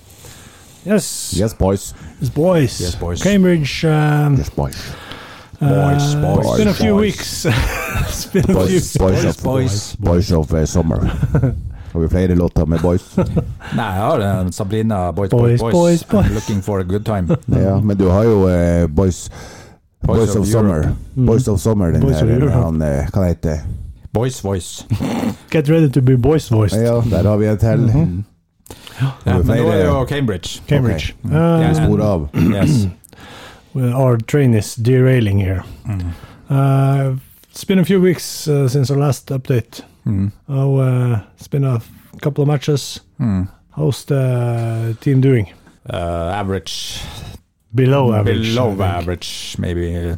Yes,
Yes, boys.
it's boys.
Yes, boys.
Cambridge. Um,
Yes, boys.
Boys, boys,
it's been a few
boys.
weeks. [laughs] it's been a few.
Boys, boys, of,
boys.
boys, of eh, summer. Har vi flere låter med boys?
Nei, jeg har en Sabrina Boys,
Boys,
Boys,
boys,
Boys.
boys.
I'm looking for a good time.
Ja, men du har jo eh, Boys Boys, of,
of
Summer.
Europe.
Boys of Summer, den
Boys of
der
Europe.
han eh, Hva heter det?
Boys Voice.
Get ready to be boys voiced.
Ja, der har vi et til.
Ja, men nå er det
flere-
jo Cambridge.
Cambridge.
Mm. Ja,
Uh,
Spor av.
Yes.
Well, our train is derailing here. Uh, it's been a few weeks uh, since our last update. Oh, uh, it's been a couple of matches. How's the team doing?
Uh, average.
Below average. I
Below
think.
average, maybe.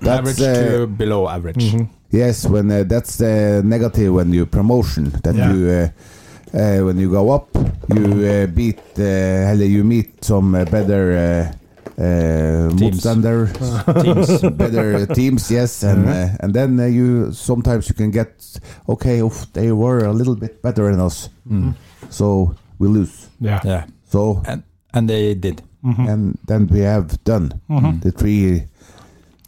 That's,
average
eh,
to below average.
Yes, when eh, that's eh, negative when you promotion. That
Yeah.
you eh, eh, uh, when you go up, you eh, beat eh, eller you meet some eh, uh, better eh, eh, motstander.
[laughs] Teams.
Better teams, yes, and uh, and then uh, you sometimes you can get okay. Oof, they were a little bit better than us, so we lose.
Yeah.
Yeah.
So
And, and they did.
and then we have done the three.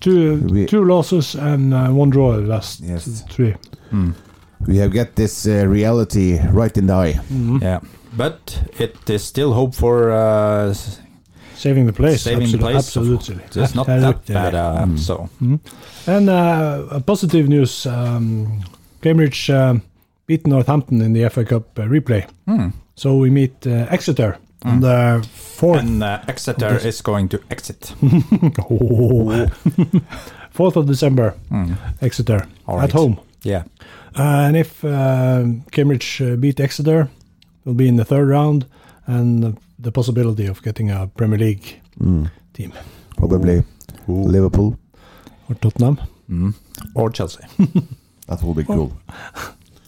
Two,
We-
two losses and uh, one draw the last
Yes.
three.
We have get this uh, reality right in the eye.
Yeah. But it is still hope for uh, s-
Saving the place.
saving the
absolute-
place.
Absolutely.
It's not that
Absolutely.
bad. Uh, So
And uh, a positive news um, Cambridge um, beat Northampton in the FA Cup uh, replay.
Hmm.
So we meet uh, Exeter on the fourth,
and uh, Exeter is going to exit.
[laughs] fourth of December. Exeter
Hmm. All
at
right.
home.
Yeah.
Uh, and if uh, Cambridge uh, beat Exeter, they'll be in the third round and the, the possibility of getting a Premier League
Hmm.
team
Probably Liverpool.
or Tottenham.
Or Chelsea.
That will
Oh.
be cool.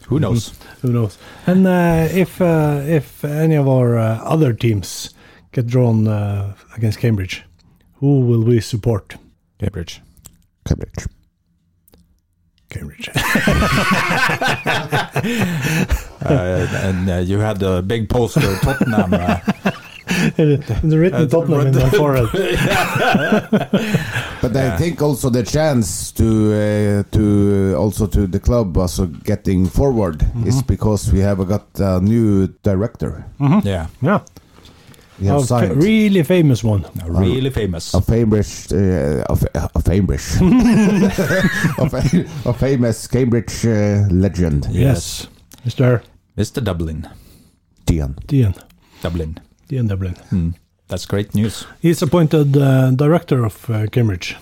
Who knows?
Who knows? And uh, if uh, if any of our uh, other teams get drawn uh, against Cambridge, who will we support?
Cambridge.
Cambridge.
[laughs] Cambridge.
Uh, and uh, you had a big poster Tottenham. Uh,
the Uh, written Tottenham in the forehead.
But I think also the chance to uh, to uh, also to the club also getting forward
Mm-hmm.
is because we have got a new director.
yeah.
[laughs] Yeah,
We have
a fa-
signed
really famous one.
Really famous.
a famous uh, a, fa- a
[laughs]
famous a, fa- a famous Cambridge uh, legend,
Yes, Mr.
Mr. Dublin.
Dian.
Dean
Dublin.
Dean Dublin.
That's great news.
He's appointed uh, director of uh, Cambridge.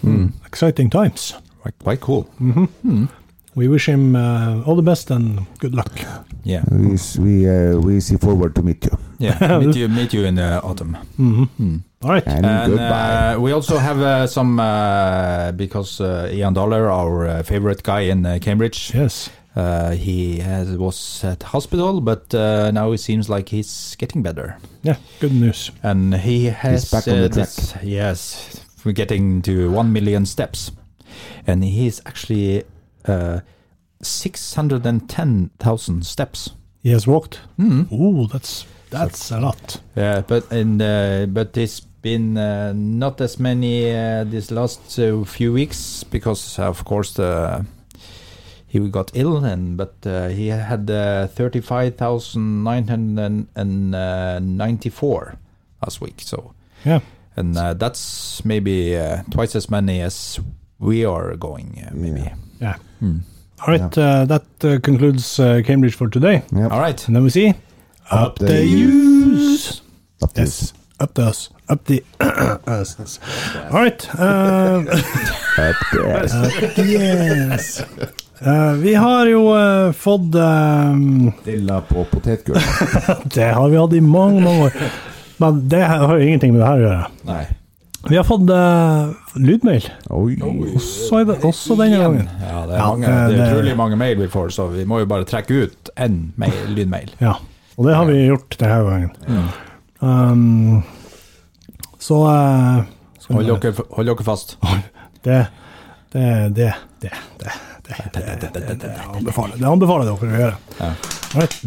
Exciting times.
Quite, quite cool.
We wish him uh, all the best and good luck.
Yeah.
We s- we uh, we see forward to meet you.
Yeah. meet you meet you in the autumn.
All right.
And,
And
Mm, goodbye.
uh, we also have uh, some uh, because uh, Ian Dollar, our uh, favorite guy in uh, Cambridge,
yes.
uh, he has, was at hospital, but uh, now it seems like he's getting better.
Yeah. Good news.
And he has
back on
uh,
the track.
this- yes, we're getting to one million steps, and he is actually uh, six hundred and ten thousand steps.
He has walked. Mm. Ooh, that's that's a lot.
Yeah, but and uh, but it's been uh, not as many uh, this last uh, few weeks because uh, of course the he got ill and but uh, he had uh, thirty five thousand nine hundred and ninety four last week. So
Yeah.
and uh, that's maybe uh, twice as many as we are going. Uh, maybe.
Yeah. All right. Uh, that uh, concludes uh, Cambridge for today.
All right.
And then we see. Up
the
use.
Up to
Yes. Up the us. Up the [coughs] us. All right. Um, [laughs]
Uh,
yes. Eh, vi har jo eh, fått eh,
Dilla på potetgull.
[laughs]
Det har vi hatt i mange, mange år. Men det har jo ingenting med det her å gjøre.
Nei.
Vi har fått eh, lydmail.
Oh,
Oi.
Også, i, også denne gangen.
Ja, det er,
Ja,
mange, det er
det-
utrolig mange mail vi får, så vi må jo bare trekke ut én mail- lydmail. [laughs]
Ja, og det har vi gjort denne gangen. Um, så eh, skal
Hold
vi-
dere, hold dere fast.
det, det, det, det, det, det, det, det, det, det anbefaler det anbefaler jeg dere å gjøre. Right.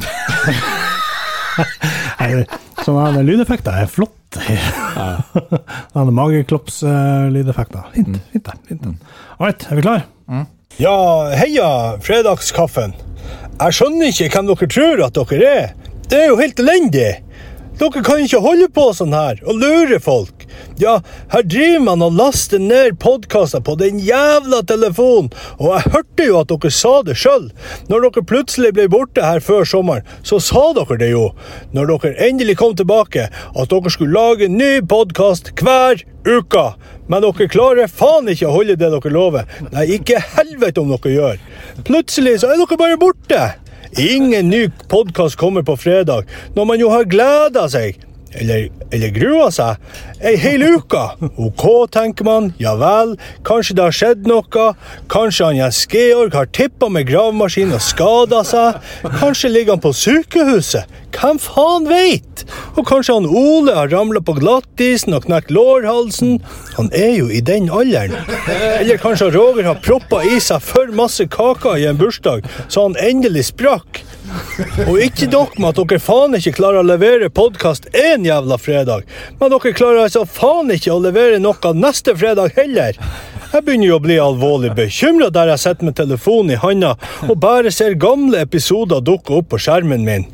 [laughs] Nei, det- Sånne her lydeffekter er flott. [laughs] Sånne mageklops-lydeffekter. Hint, hint, der, hint. der. All right, er vi klar? Ja, heia fredagskaffen. Jeg skjønner ikke hvem dere tror at dere er. Det er jo helt elendig. Dere kan ikke holde på sånn her og lure folk. Ja, her driver man og laster ned podkaster på den jævla telefonen, og jeg hørte jo at dere sa det sjøl. Når dere plutselig ble borte her før sommeren, så sa dere det jo. Når dere endelig kom tilbake, at dere skulle lage en ny podkast hver uke. Men dere klarer faen ikke å holde det dere lover. Nei, ikke helvete om dere gjør. Plutselig så er dere bare borte. Ingen ny podkast kommer på fredag, når man jo har gleda seg. Eller, eller grua seg? Ei hel uke? OK, tenker man. Ja vel, kanskje det har skjedd noe? Kanskje han Jens Georg har tippa med gravemaskin og skada seg? Kanskje ligger han på sykehuset? Hvem faen veit? Og kanskje han Ole har ramla på glattisen og knekt lårhalsen? Han er jo i den alderen. Eller kanskje Roger har proppa i seg for masse kaker i en bursdag, så han endelig sprakk? Og ikke nok med at dere faen ikke klarer å levere podkast én jævla fredag, men dere klarer altså faen ikke å levere noe neste fredag heller. Jeg begynner jo å bli alvorlig bekymra der jeg sitter med telefonen i handa og bare ser gamle episoder dukke opp på skjermen min.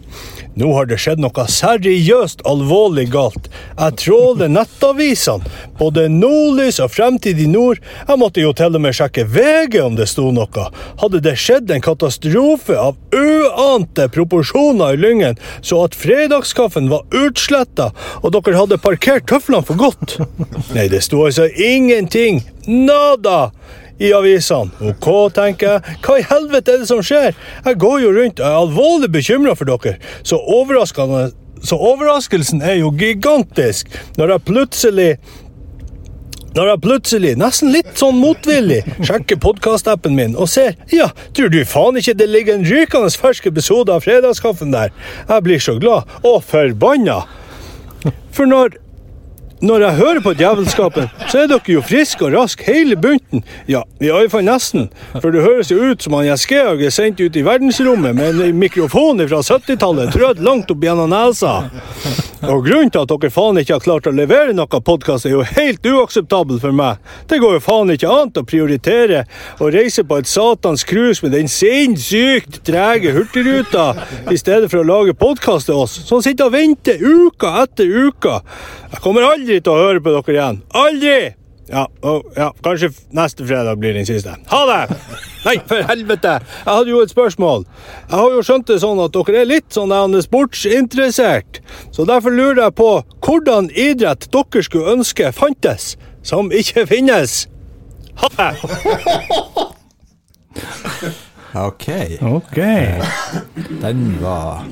Nå har det skjedd noe seriøst alvorlig galt. Jeg tråler nettavisene. Både Nordlys og Fremtid i Nord. Jeg måtte jo til og med sjekke VG om det sto noe. Hadde det skjedd en katastrofe av uante proporsjoner i Lyngen, så at fredagskaffen var utsletta, og dere hadde parkert tøflene for godt? Nei, det sto altså ingenting. Nada! i avisene. Ok, tenker jeg. Hva i helvete er det som skjer? Jeg går jo rundt og er alvorlig bekymra for dere. Så overraskende Så overraskelsen er jo gigantisk når jeg plutselig når jeg plutselig, nesten litt sånn motvillig, sjekker podkastappen min og ser Ja, tror du faen ikke det ligger en rykende fersk episode av Fredagskaffen der? Jeg blir så glad og forbanna. For når når jeg hører på djevelskapen, så er dere jo friske og raske hele bunten. Ja, iallfall nesten. For det høres jo ut som han Jens Georg er sendt ut i verdensrommet med en mikrofon fra 70-tallet trødd langt opp gjennom nesa. Og grunnen til at dere faen ikke har klart å levere noe podkast, er jo helt uakseptabel for meg. Det går jo faen ikke annet å prioritere å reise på et satans cruise med den sinnssykt trege Hurtigruta, i stedet for å lage podkast til oss, som sitter og venter uka etter uka. Jeg kommer aldri til å høre på dere igjen. Aldri! Ja, og, ja, kanskje f- neste fredag blir den siste. Ha det! Nei, for helvete! Jeg hadde jo et spørsmål. Jeg har jo skjønt det sånn at dere er litt sånn der sportsinteressert. Så derfor lurer jeg på hvordan idrett dere skulle ønske fantes, som ikke finnes. Ha det!
OK.
OK,
Den var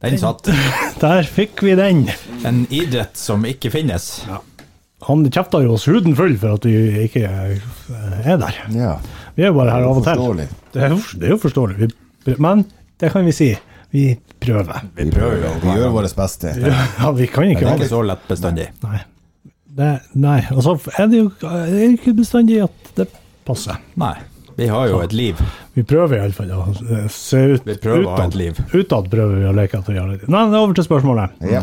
Den satt.
der fikk vi den.
En idrett som ikke finnes.
Han kjefta jo oss huden full for at vi ikke eh, er der.
Ja.
Vi er jo bare her av og til.
Forståelig.
Det er, jo- det er jo forståelig. Vi, prø- men det kan vi si. Vi prøver.
Vi prøver jo. Vi gjør vårt beste.
Ja, vi kan
Det
ikke
er
ha
ikke
det.
så lett bestandig.
Nei. Det, nei. Og så er det jo er det ikke bestandig at det passer.
Nei. Vi har jo et liv.
Vi prøver iallfall å eh, se ut
Vi prøver å ha
utad-
et liv.
Utad prøver vi å leke at vi gjør det. Nei, men over til spørsmålet.
Ja.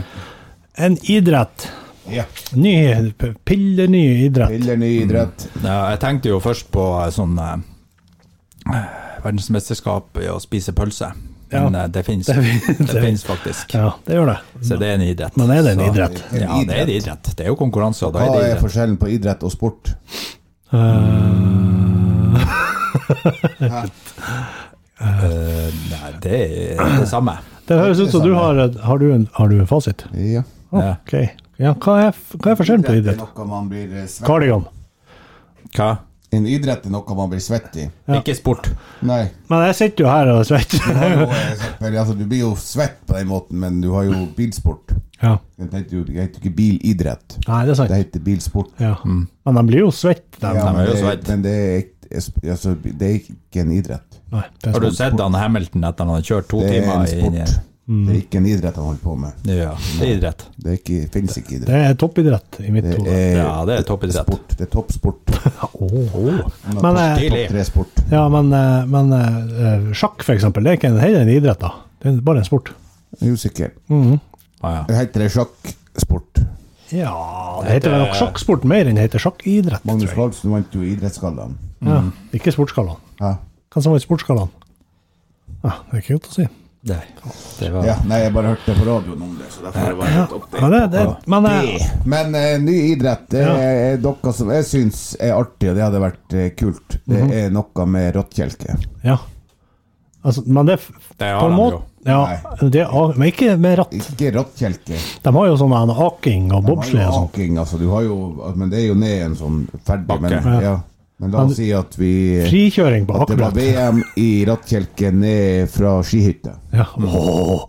En idrett.
ja.
Ny, p- pilleny idrett.
Eller ny idrett.
Ja, Jeg tenkte jo først på eh, sånn eh, verdensmesterskap i å spise pølse.
Ja.
Men eh, det fins.
Det fin-
Det fins faktisk.
Ja, det gjør det.
Så det er en idrett.
Men er det en
Så-
idrett?
En
Ja, det er en
idrett.
idrett. Det er jo konkurranse, og da
Hva
er det
er
idrett.
forskjellen på idrett og sport?
Eh, Nei, det er det samme.
Det høres ut som du har Har du en, har du en fasit?
Ja.
Ja.
Ok. Ja, hva er, f- hva er forskjellen på
Idrett er
idrett?
noe man blir eh, svett
Cardigan.
Hva?
En idrett er noe man blir svett i.
Ikke sport.
Nei.
[laughs] Men jeg sitter jo her og svetter.
Du, har jo, eh, selvfølgelig, altså, du blir jo svett på den måten, men du har jo bilsport.
Ja.
Det heter jo det heter ikke bilidrett.
Nei, det er
Det
sant.
heter bilsport.
Ja. Men de blir jo svette, de.
Mm. Ja,
de er
men,
jo
det,
svett.
men det, er, altså, det er ikke en idrett.
Nei, det er
Har du
sant.
sett han Hamilton etter han har kjørt to
Det er
timer
en
i
sport.
Mm.
Det er ikke en idrett han holder på med.
Ja, det er idrett.
Det er ikke, finnes ikke idrett.
Det er toppidrett i mitt
Det
hode.
er
Ja, det er toppidrett.
sport. Det er toppsport.
Men, eh,
Topp tre sport.
ja, men, eh, men eh, eh, sjakk, for eksempel, det er ikke en, heller en idrett, da. Det er bare en sport.
Jeg er usikker.
Mm.
Ah, ja.
Det heter det sjakksport.
Ja, det heter vel nok sjakksport mer enn det heter sjakkidrett. tror
Magnus
jeg.
Carlsen vant jo Idrettsgallaen.
Ja, ikke sportsgallaen.
Ja.
Hvem som vant sportsgallaen? Ja, det er ikke godt å si.
Nei, det var
ja, nei, jeg bare hørte det på radioen om det, så derfor var jeg litt
Men,
opptatt.
det, det, men eh,
Men eh, ny idrett, det
Ja.
er, er noe som jeg syns er artig, og det hadde vært eh, kult. Det
Mhm.
er noe med rottkjelke.
Ja. Altså, men det,
Det har
på en
de jo.
måte ja, det, er- Men ikke med ratt.
Ikke rottkjelke.
De har jo sånn en aking og
Du har
bobsle
jo
og sånn.
Aking, altså, du har jo, men det er jo ned en sånn ferdig men,
Bakke.
ja. men la oss si at vi
Frikjøring på
Det var
akebrett.
VM i rattkjelke ned fra skihytta.
Ja. Åh,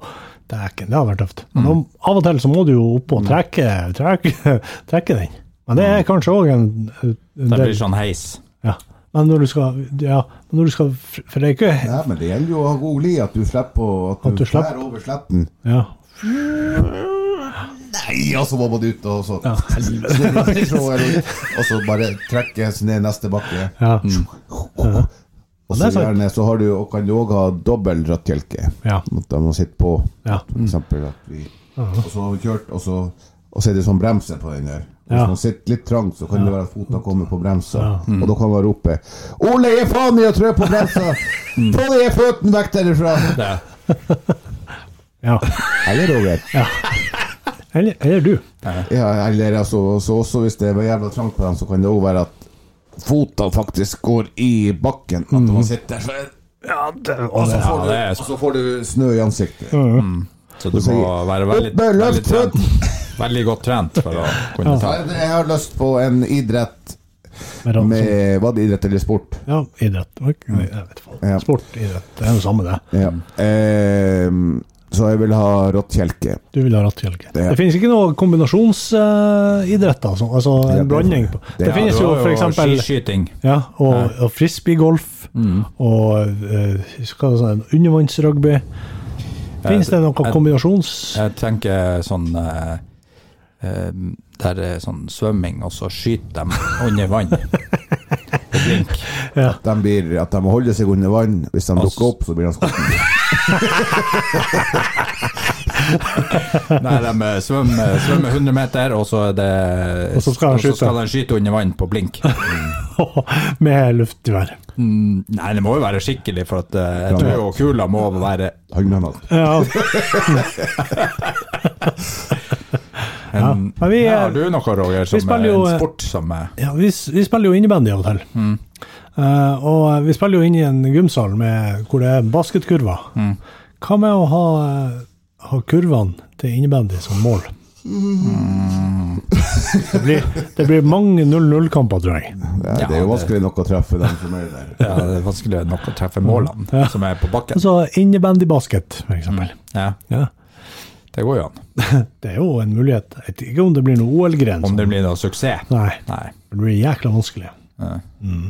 Dæken, det hadde vært tøft. Men om- av og til så må du jo opp og trekke, trekke, [laughs] trekke den. Men det er kanskje òg en, en
Det blir
del
sånn heis.
ja. Men når du skal Ja, men når du skal For det er ikke
Nei, men det gjelder jo å ha god li, at du slipper å At du,
At du slipper-
skjærer over sletten.
Ja.
Nei, og så må man ut, og så Og så bare trekkes ned neste bakke.
Ja.
Og
Ja, det
så
er sant.
gjerne så har du, og kan du òg ha dobbel rattkjelke.
Ja.
At de må sitte på.
ja.
For eksempel at vi Og så har vi kjørt, og så, og så er det sånn bremse på den der. Og Hvis
Ja.
man sitter litt trangt, så kan det være at fotene kommer på bremsa. Og da kan man rope 'Ole, gi faen i å trø på bremsa!
Mm.
Få de føttene vekk derifra!'
Det.
ja.
Eller Roger.
Eller, eller du.
Ja, eller altså, også, også hvis det var jævla trangt på dem, så kan det òg være at fotene faktisk går i bakken. At man sitter der, så er-
Ja, det,
og så får,
det er-
du, og så får du snø i ansiktet.
Så du må være veldig,
Oppe,
veldig,
løft
trent, veldig godt trent for å kunne ta
Jeg jeg har lyst på en idrett
med Ransom.
med Var det idrett eller sport?
Ja, idrett. Ok, Jeg vet faen.
Ja.
Sport, idrett. Det er det samme, det.
Ja. Ehm, så jeg vil ha råttkjelke.
Du vil ha rattkjelke. Det,
Det-
finnes ikke noe kombinasjonsidrett, altså. altså
Ja,
en
det-
blanding. på- Det,
det- ja,
finnes
Du
jo
har
for eksempel
skiskyting.
ja, og, og frisbeegolf og eh, hva er det, sånn, undervannsrugby. Finnes det noe
jeg-
kombinasjons...
Jeg tenker sånn eh, eh, Der er sånn svømming, og så skyter de under
[laughs]
vann. Og blink.
At de, blir, at de holder seg under vann. Hvis de dukker opp, så blir de skutt.
Nei, de eh, svømmer, svømmer 100 meter, og så er det
Og så skal de
og så
skyte.
skal de skyte under vann på blink.
[laughs] med luftgevær.
Mm, Nei, det må jo være skikkelig, for at eh, jeg tror jo kula må være
Håndgranat.
Ja. ja.
en
Men vi,
Ja,
eh,
Har du noe, Roger,
vi
som
spiller
er
jo,
en
eh,
sport som er
Ja, vi, s- vi spiller jo innebandy av og til. Eh, og vi spiller jo inn i en gymsal med, hvor det er basketkurver. Hva med å ha, eh, ha kurvene til innebandy som mål? Det, blir, det blir mange 0-0-kamper, tror jeg.
Ja, det er jo vanskelig nok å treffe dem som er der.
ja, Det er vanskelig nok å treffe målene som er på bakken.
Altså innebandybasket, for eksempel.
Mm. Ja,
Ja.
det går jo an.
Det er jo en mulighet. Jeg vet ikke om det blir noe OL-gren.
Om
sånn.
det blir noe suksess.
Nei,
Nei.
det blir jækla vanskelig. Mm.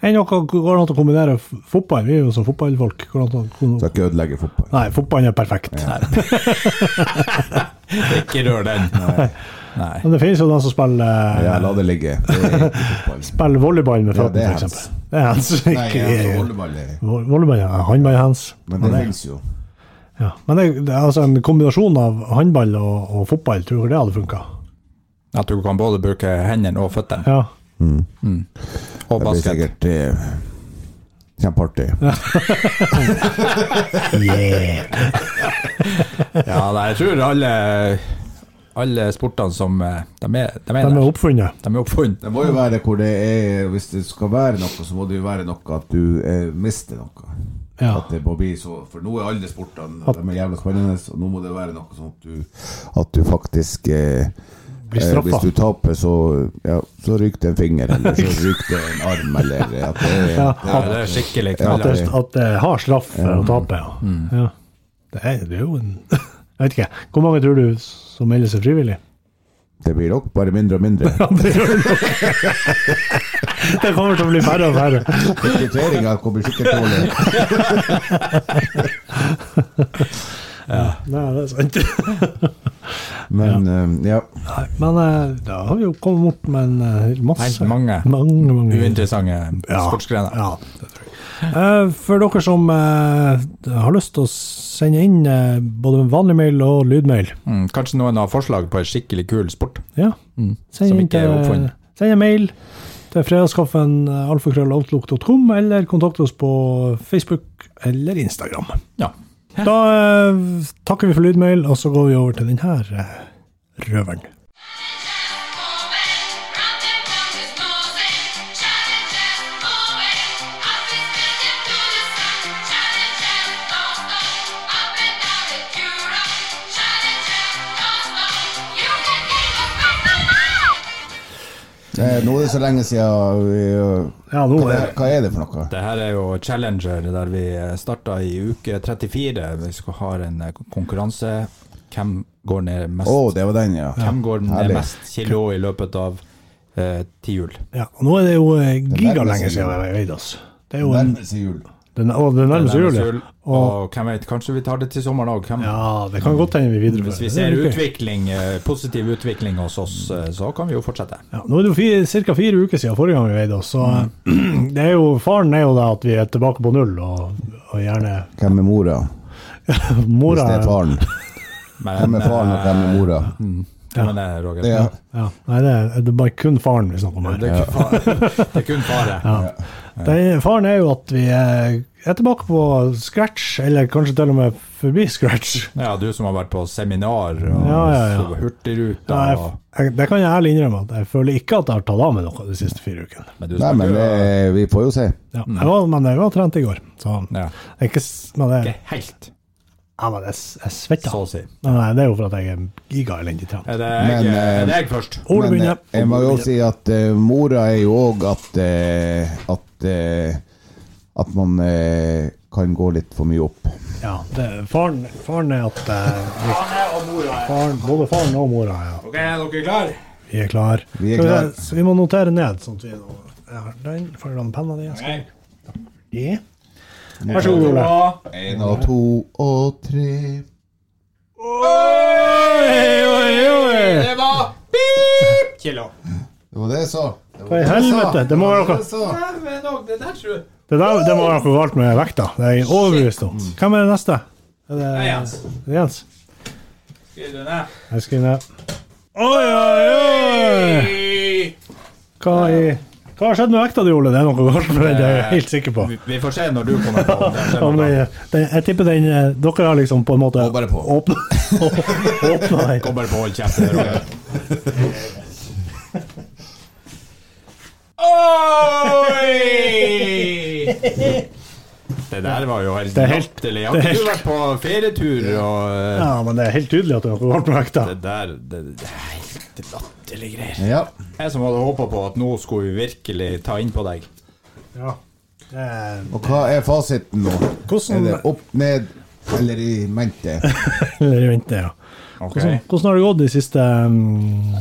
Er det noe går det an å kombinere f- fotball? Vi er jo som fotballfolk. Går det an å
Skal ikke ødelegge fotball.
Nei, fotballen er perfekt.
Ikke rør den. Nei.
Men det finnes jo de som spiller,
Ja, la det ligge. Det er ikke fotball.
spiller volleyball med
Ja, det er
føttene, for
hands.
eksempel. Det er hands.
Nei, altså,
[laughs] Ikke
volleyball er-
Vo- volleyball er håndball-hands.
Men det fins jo.
Ja. Men det, det er altså en kombinasjon av håndball og, og fotball, tror jeg det hadde funka.
At du kan både bruke hendene og føttene
Ja.
og
Det blir
basket.
sikkert eh, kjempeartig.
Yeah.
Ja, nei, jeg tror alle, alle sportene som eh, De er, de er,
De er
der.
oppfunnet.
De er oppfunnet.
Det må jo være hvor det er Hvis det skal være noe, så må det jo være noe at du eh, mister noe.
Ja.
At det må bli så For nå er alle sportene De er jævla spennende, og nå må det være noe sånn at du At du faktisk eh,
Blir
eh, Hvis
straffa.
du taper, så ja, Så ryker det en finger, eller så ryker det en arm, eller at det er
Ja, det er skikkelig
At
knallhardt.
det, at det har straff for å tape, ja. ja. Det, er, det er jo en [laughs] Jeg vet ikke. Hvor mange tror du som melder seg frivillig? [laughs]
Det blir nok bare mindre og mindre.
Det kommer til å bli færre og færre.
Rekrutteringa kommer sikkert dårlig.
Nei, det er sant.
Men eh, ja.
Nei, [laughs] men eh, da har vi jo kommet bort med en eh, masse
Nei, mange.
mange, mange.
Uinteressante sportsgrener.
Ja, det tror jeg. Eh, for dere som eh, har lyst til å sende inn eh, både vanlig mail og lydmail,
Mm, kanskje noen har forslag på en skikkelig kul sport?
ja, send,
som
inn
ikke er oppfunnet.
send en mail til fredagskaffen eh, alfakrølloutlook.com, eller kontakt oss på Facebook eller Instagram.
Ja.
Da eh, takker vi for lydmail, og så går vi over til den her eh, røveren.
Eh, Nå er det så lenge siden vi, eh,
Ja, nå
hva,
er det
hva er det for noe?
Det her er jo Challenger, der vi starta i uke 34. Vi skal ha en eh, konkurranse. Hvem går ned mest,
Å, det var den, ja.
Hvem går ned
herlig.
mest kilo i løpet av eh, ti hjul?
ja, og Nå er det jo eh, gigalenge
nærmer seg
siden vi har veid oss. Det er jo en,
Nærmer seg jul.
den, og det nærmer seg jul. ja. Og Mm.
Og hvem vet, kanskje vi tar det til sommeren òg.
ja, det kan godt hende vi viderefører.
Hvis vi
Det
ser
er jo gøy.
utvikling, eh, positiv utvikling hos oss, eh, så kan vi jo fortsette.
Ja, nå er det jo ca. fire uker siden forrige gang vi veide oss, så [clears throat] det er jo, faren er jo da at vi er tilbake på null, og, og gjerne
Hvem er mora? Hvis
mora
det er faren.
Men,
Hvem er faren, og hvem er mora?
eh, men, eh, Roger,
Ja.
ja, Nei, det er, det er bare kun faren vi snakker om her.
Det er kun fare. [laughs] Det er kun fare.
Det, faren er jo at vi er, er tilbake på scratch, eller kanskje til og med forbi scratch.
Ja, du som har vært på seminar og
Ja, ja, ja.
så Hurtigruta
Ja, jeg,
og
jeg, det kan jeg ærlig innrømme, at jeg føler ikke at jeg har tatt av meg noe de siste fire ukene.
Men
Nei,
du snakker
men
jo-
eh, vi får jo se.
Ja, jeg var, men jeg var trent i går, så
Ja.
det er ikke s- men det,
Ikke helt,
ja, men jeg, s- jeg svetter.
så å si.
Nei, nei, det er jo for at jeg er gigaelendig trent.
Er det jeg,
Men,
er det
eh,
jeg først?
Men
Ole
eh,
begynner.
jeg må jo si at eh, mora er jo òg at eh, at, eh, at man eh, kan gå litt for mye opp.
Ja, det, faren, faren er at eh, vi- faren, Både faren og mora er
Ok, er dere klare?
Vi er klar.
Vi er
Skal
klar.
så vi må notere ned. sånn at vi nå... Jeg har den, får den penna di. jeg skal- Ja. Vær så god, Ole.
Én og to og tre
Det var pip kilo.
Det var det jeg sa. Det var
Hva i
det jeg sa.
helvete? Det må være noe.
Det jeg sa.
Det, der, det må være noe galt med vekta. Det er jeg overbevist om.
Mm.
Hvem er det neste? Er det
er Jens.
Er det Jens?
Skriv det ned.
Jeg skriver ned. Oi, oi, oi! Hva, i, hva har skjedd med vekta di, Ole? Det er noe galt med den, det er jeg helt sikker på.
Eh, Vi, vi får se når du kommer på. om det skjer
Om
noe.
jeg, den, jeg tipper den eh, Dere har liksom på en måte
Gå bare på.
åpna
[laughs]
åpna den.
Kommer på, hold kjeft.
[laughs]
Roger. Oi! Det der var jo helt
Det er helt-
latterlig.
det
Har
er
ikke du
helt-
vært på ferietur og eh,
Ja, men det er helt tydelig at det er noe galt med vekta.
Det der det, det er helt latterlige greier.
Ja.
Jeg som hadde håpa på at nå skulle vi virkelig ta inn på deg.
Ja. Eh,
Og hva er fasiten nå?
Hvordan-
Er det opp, ned eller i mente?
Eller vente, ja. Hvordan, hvordan har det gått de siste um,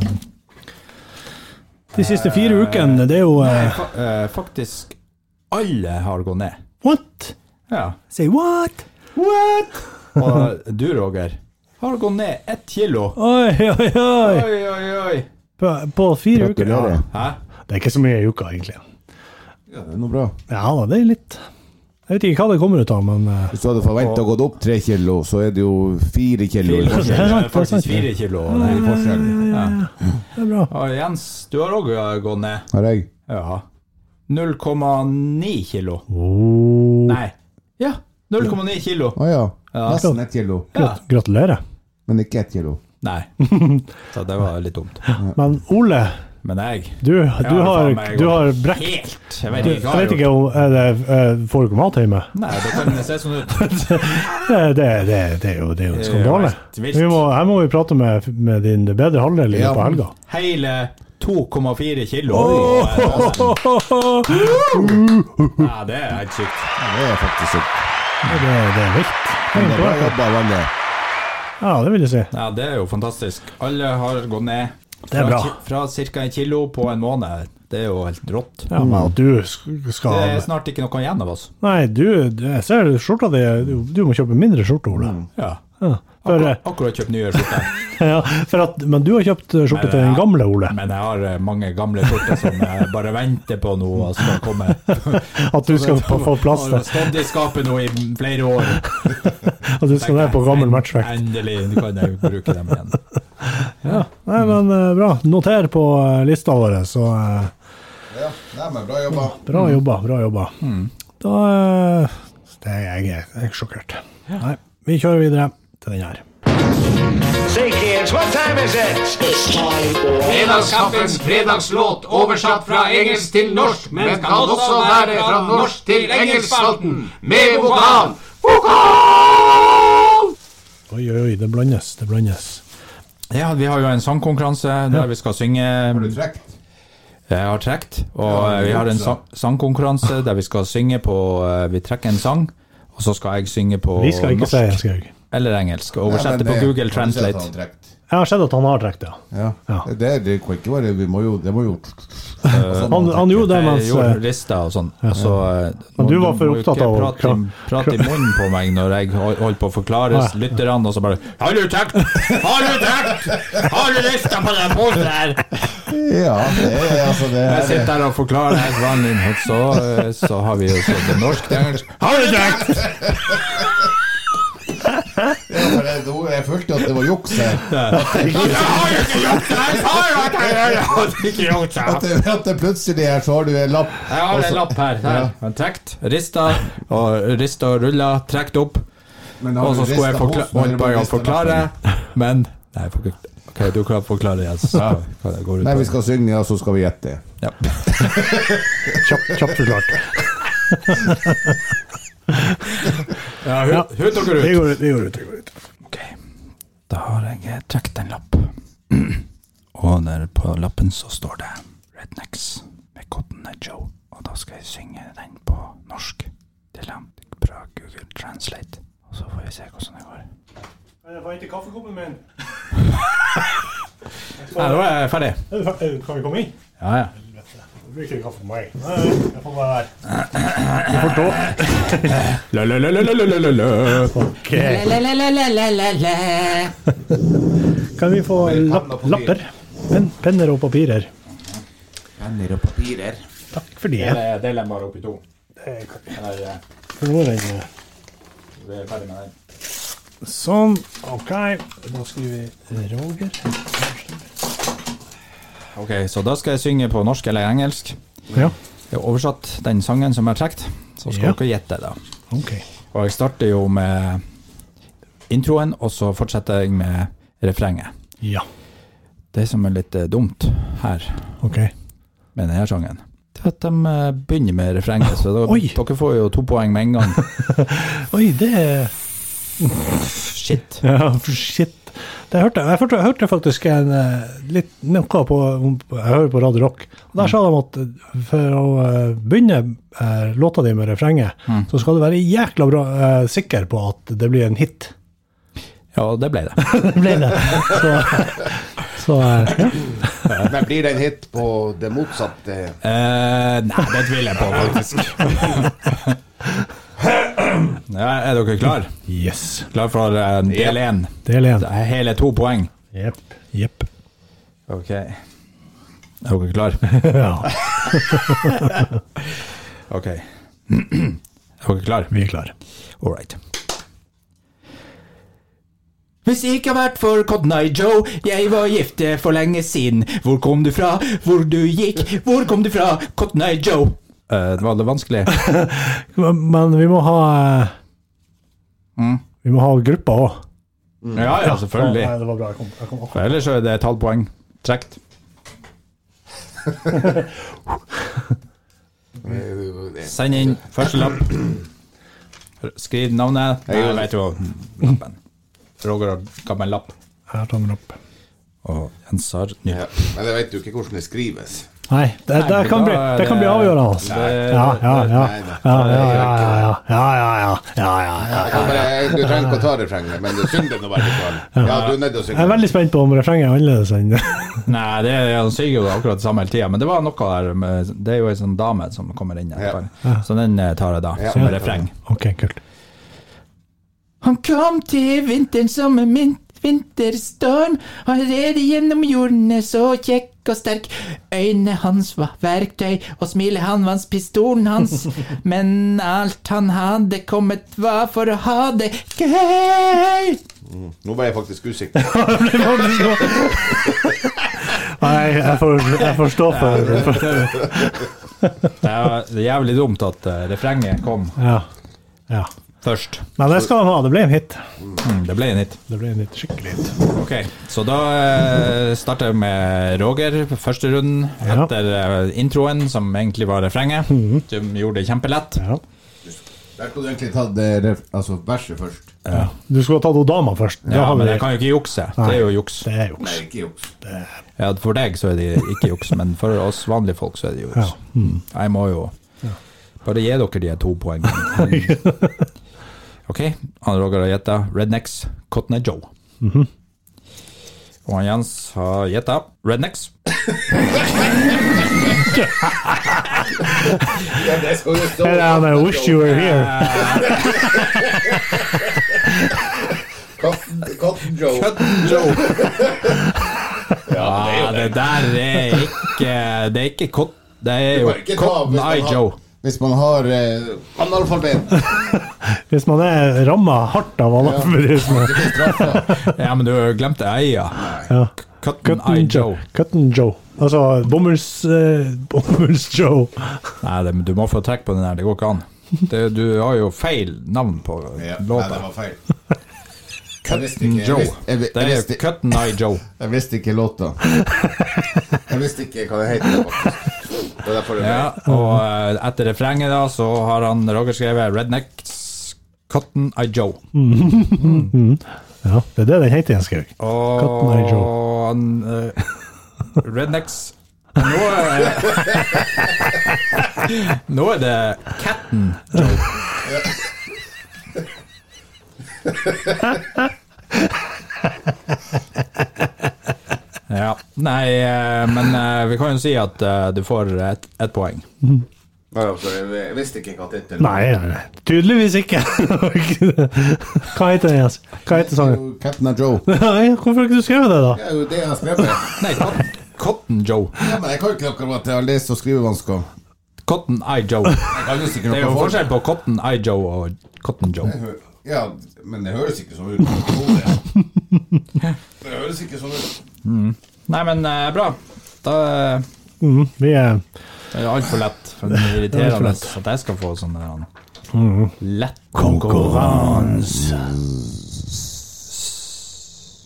De siste fire ukene? Det er jo eh,
Fa eh, faktisk alle har gått ned.
What?
Ja.
Say what?
What? Og du, Roger, har gått ned ett kilo.
Oi, oi, oi!
Oi, oi, oi.
På, på fire uker?
Gratulerer.
Hæ?
Det er ikke så mye i uka, egentlig.
Ja, det er noe bra.
Ja da, det er litt Jeg vet ikke hva det kommer ut av, men eh,
Hvis du hadde forventa å gå opp tre kilo, så er det jo fire kilo i
Fire,
forskjell.
det er sant, det
det er
er sant.
faktisk fire kilo. Det er i forskjell. Ja.
det er bra.
Og Jens, du har òg gått ned.
Har jeg?
Ja. 0,9 kilo.
Oh.
Nei. Ja. 0,9 kilo.
Å ja.
Ja.
Nesten ett kilo,
Grat gratulerer.
men ikke ett kilo.
[laughs]
Nei. Så det var litt dumt.
Men Ole,
Men jeg
du, du,
det
har,
faen meg
du
godt.
har brekt
Helt! Jeg vet
du,
ikke hva
Jeg vet ikke om er det, eh, Får du ikke mat hjemme?
Nei, det kan se sånn ut.
[laughs] Det, det, det, det er jo det er jo en
Det er
skandale.
helt vilt.
Vi må, her må vi prate med, med din bedre halvdel i
Ja.
løpet av helga.
Hele 2,4 kilo. Ja, det er helt sykt.
Ja, det er faktisk sykt.
Det, det er vilt. Det
Men
er
det er bra
imponerende.
jobba av alle.
Ja, det vil jeg si.
Ja, det er jo fantastisk. Alle har gått ned.
Det er
Fra
bra.
ki- Fra ca. en kilo på en måned. Det er jo helt rått.
Ja, men at du sk-
Det er
skal
snart ikke noe igjen av oss.
Nei, du, du- jeg ser skjorta di Du du må kjøpe mindre skjorte, Ole.
Ja.
Ja, for, [laughs]
Akkurat, akkurat kjøpt nye skjorter.
ja, for at, men du har kjøpt eh, skjorte til den gamle, Ole.
Men jeg har eh, mange gamle skjorter som jeg bare venter på nå og skal komme.
[laughs] At du
[laughs]
skal få få plass
Har
til
stått i skapet nå i flere år.
[laughs] At du skal ned på gammel matchvekt.
Endelig kan jeg bruke dem igjen.
Nei, men eh, bra. Noter på eh, lista vår, så eh,
Ja, nei, men bra jobba.
bra jobba, bra jobba. Da eh, det er jeg, jeg er sjokkert. Nei, vi kjører videre til den her.
Fredagskaffens fredagslåt oversatt fra engelsk til norsk, men kan også være fra norsk til engelskspalten med vokal. Vokal!
Oi, oi, oi, det blandes, det blandes.
Ja, vi har jo en sangkonkurranse der vi skal synge
Trekt.
Jeg har trukket, og eh, vi har en sang sangkonkurranse der vi skal synge på eh, Vi trekker en sang, og så skal jeg synge på
Vi skal ikke
norsk
si en skaug.
eller engelsk. og
Nei,
Oversette
men eh,
på
det- har
Google
du sett
Translate.
han trekt?
Jeg har sett at han har trukket, ja.
Ja.
Ja.
Det, det, det kan ikke være Vi må jo Det må jo Sånn
Han, han gjorde det
Jeg
mens
gjorde
eh,
rister og sånn. og så, eh,
Men
må-
du var for
må jo
opptatt
ikke
av å
prate, i- prate i munnen på meg når jeg hol- holdt på å forklare
Ah, ja.
lytterne, og så bare Har du tekt? Har du tekt? Har du rister på den posen her?
Ja, det er altså det
Jeg
er,
sitter der og forklarer helt vanlig, og så, eh, så har vi jo så til norsk. det er engelsk. Har du tekt?
ja, for jeg, nå- jeg følte at det var juks her. At det, at det plutselig her så har du en lapp.
Jeg har en lapp her. her. Han trekt, rista og rista og rulla, trekt opp.
Men har
Og
du
så skulle jeg
ristet
forkla
posen, eller
holdt på
bare
å
ristet
forklare,
lappen?
men Nei, jeg får ikke- ok, du kan forklare det. Altså. Hva det går ut
Nei,
på.
vi skal synge, og så skal vi gjette.
Ja.
kjapt, kjapt forklart.
Ja, hu- hut dere
Vi
ut.
går ut, vi går ut. Vi går ut.
Ok, da har jeg eh, trekt en lapp. [clears throat] Og der på lappen så står det Rednecks med Cotton Eye Joe. Og da skal jeg synge den på norsk til dem fra Google Translate. Og så får vi se hvordan det går.
Jeg fant ikke kaffekoppen min.
Ja, da er jeg ferdig.
eh, Kan vi komme inn?
Ja, ja.
Det blir ikke kaffe på meg. Nei, jeg får være her. Du får tå. Ok. [laughs] Kan vi få lapp, lapper? Pen, penner og papirer.
Penner og papirer.
Takk for det.
Del den bare opp i to.
Det kan vi-
Eller, eh,
for nå er den, eh,
vi er ferdig med den.
Sånn. Ok. Da skriver vi Roger.
Ok, så da skal jeg synge på norsk eller engelsk.
Ja.
Jeg har oversatt den sangen som jeg har trukket, så skal
Ja.
dere gjette, da.
Ok.
Og jeg starter jo med introen, og så fortsetter jeg med refrenget.
Ja.
Det som er litt eh, dumt her
Ok.
med denne sangen, det er at de eh, begynner med refrenget, så da,
[laughs] Oi.
dere får jo to poeng med en
[laughs]
gang.
Oi, det er
Shit.
Ja, for shit. Det hørte, jeg, hørte, jeg hørte faktisk en eh, litt noe på om- Jeg hører på Radio Rock. Og der sa de at eh, for å eh, begynne eh, låta di med refrenget, så skal du være jækla bra eh, sikker på at det blir en hit.
Ja, det ble det.
[laughs] Det ble det. Så, så eh, ja.
Men blir det en hit på det motsatte?
Eh, nei, det tviler jeg på, faktisk.
[laughs]
ja, er dere klar?
Yes.
Klar for eh, del én?
Del én.
Det er hele to poeng.
Jepp. Jepp.
Ok. Er dere klare?
[laughs] [laughs] Ja,
Ok. [clears throat] Er dere klare?
vi er klare.
All right. Hvis det ikke har vært for Cotton Eye Joe, jeg var gift for lenge siden. Hvor kom du fra? Hvor du gikk? Hvor kom du fra, Cotton Eye Joe? Eh, det var det [laughs] vanskelig.
Men, men vi må ha eh, Vi må ha gruppa òg.
Ja, ja, selvfølgelig.
Nei, det var bra. Jeg kom, jeg kom akkurat.
For ellers så er det et halvt poeng trukket. Send inn første lapp. Skriv navnet. Nei, jeg vet jo lappen. Roger har gammel lapp.
Jeg tar den opp.
Og Jens har ny lapp.
Men jeg vet jo ikke hvordan det skrives.
Nei, det, det,
men
kan,
da
bli,
er
det kan bli
det-
avgjørende. Altså.
Nei, det-
Ja, ja, ja.
det-
Ja, ja, ja. ja, ja, ja, ja, ja, ja, ja.
du trenger ikke å ta refrenget, men syng det nå i hvert fall. Ja, du er nødt til å
Jeg
synge.
er veldig spent på om refrenget er annerledes enn [laughs]
Nei, det er, han sier jo akkurat det samme hele tida, men det var noe der med, Det er jo ei sånn dame som kommer inn etterpå. Så den eh, tar jeg da,
Ja.
som refreng.
OK, kult. [laughs]
Han kom til vinteren som en min vinterstorm. Han red gjennom jordene så kjekk og sterk. Øynene hans var verktøy, og smilet han var pistolen hans. Men alt han hadde kommet, var for å ha det gøy.
Nå ble jeg faktisk usikker.
Nei, jeg får, jeg får stå for
Det er jævlig dumt at eh, refrenget kom
Ja. ja.
først.
Men det skal han ha. Det ble en hit.
Mm, Det ble en hit.
Det ble en hit, skikkelig hit.
Ok, så da eh, starter jeg med Roger på første runden,
Ja. Mhm.
etter eh, introen, som egentlig var refrenget, som gjorde det kjempelett.
Ja.
Der skulle du egentlig tatt eh, ref- altså, verset først.
Du skulle ha tatt Odama først. Da
Ja,
har vi
men
det.
jeg kan jo ikke jukse. Det er jo juks.
Det er juks.
Nei, ikke juks.
Ja, for deg så er det ikke juks, men for oss vanlige folk så er det juks. Jeg må jo bare gi dere de to [laughs] poengene. Ok, han Roger har gjetta Rednecks Cotton Eye Joe. Og han Jens har gjetta Rednecks.
Ja, det skal jo stå.
Hey, Dan, I wish you were here.
Cotton, Cotton Joe.
[laughs] Joe. Ja, det der er ikke Det er ikke cot, det er jo
kan ikke ta
Cotton
hvis man
Eye
har-
Joe.
Hvis man har eh, analfabet
Hvis man er ramma hardt av analfabetisme.
Ja, men du glemte eia.
Ja.
Cotton Eye
Cotton
Joe.
Joe. Cotton Joe. Altså Bommers eh, Bommers Joe.
Nei, det, du må få trekk på den her, det går ikke an. Det, du har jo feil navn på
[laughs] ja, Nei, det
låta.
var [laughs] feil. Jeg visste ikke, jeg
Joe.
visste, jeg, vi-
Det
jeg,
er
visste,
Cotton Eye Joe.
[laughs] jeg visste ikke låta. [laughs] Jeg visste ikke hva det [laughs] heter. faktisk. Det er derfor det ble
Ja, og eh, etter refrenget da, så har han Roger skrevet Rednecks Cotton Eye Joe.
Ja, det er det den heter igjen, skrev jeg.
Og
Cotton Eye Joe.
han eh, Rednecks Nå er, nå er det Catten Joe. Ja. Nei, eh, men eh, vi kan jo si at eh, du får ett ett poeng.
Nei, altså, jeg- jeg visste ikke hva det heter.
Nei, nei, nei. tydeligvis ikke. [laughs] Hva heter den, Jens? Hva heter sangen?
Captain and Joe.
Nei, hvorfor har ikke du skrevet det, da?
Det er jo det jeg har skrevet.
Nei, Cotton, Cotton Joe.
Ja, men jeg kan jo ikke akkurat at jeg har lest og skrivevansker.
Cotton Eye Joe.
Jeg kan jo sikkert
Det er jo
noe for-
forskjell på Cotton Eye Joe og Cotton Joe.
Ja, men det høres ikke sånn ut. på hodet. Det høres ikke sånn ut.
Nei, men eh, bra. Da eh,
Mm, vi er
Det er altfor lett. For det er
for
irriterende
lett.
at jeg skal få sånn der, lett konkurranse.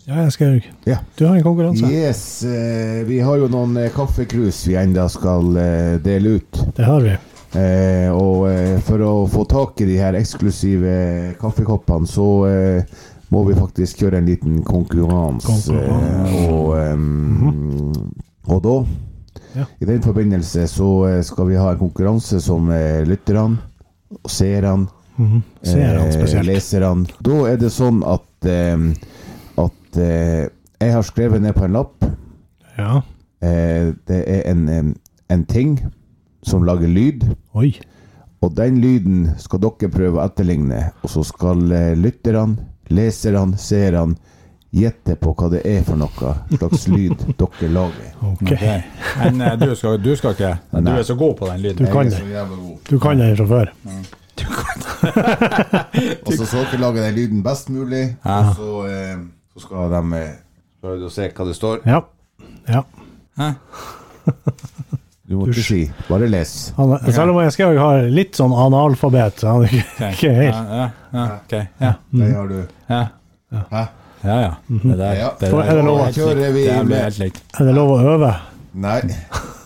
Ja, jeg skal ikke.
Ja.
Du har en konkurranse.
Yes, eh, vi har jo noen eh, kaffekrus vi enda skal eh, dele ut.
Det har vi.
Eh, og eh, for å få tak i de her eksklusive kaffekoppene, så eh, må vi faktisk kjøre en liten konkurranse. Eh, og, eh, og da,
Mhm. Ja.
i den forbindelse, så eh, skal vi ha en konkurranse som eh, lytterne, seerne,
Ser han
eh,
spesielt.
leserne. Da er det sånn at, eh, at eh, jeg har skrevet ned på en lapp
Ja.
eh, Det er en, eh, en ting som lager lyd.
Oi.
Og den lyden skal dere prøve å etterligne, og så skal eh, lytterne, leserne, seerne gjette på hva det er for noe slags lyd dere lager.
Ok.
Men eh, du skal, du skal ikke Du
Nei.
er så god på den lyden.
Du kan det. Du kan den fra før.
Og Altså, så skal dere lage den lyden best mulig, og så, eh, så skal de eh, prøve å se hva det står.
Ja. Ja.
Du må ikke si, bare les.
Han, Selv om jeg skal ha litt sånn analfabet, så han er ikke,
Ok.
ikke
Ja,
helt
ja, ja, ok. Ja,
Det har du.
ja.
Hæ?
ja, Mm-hmm. ja. Det der
Ja.
det
For er det lov å
helt
kjøre
likt.
vi
Det er
med-
helt likt.
Er det lov å øve?
Nei,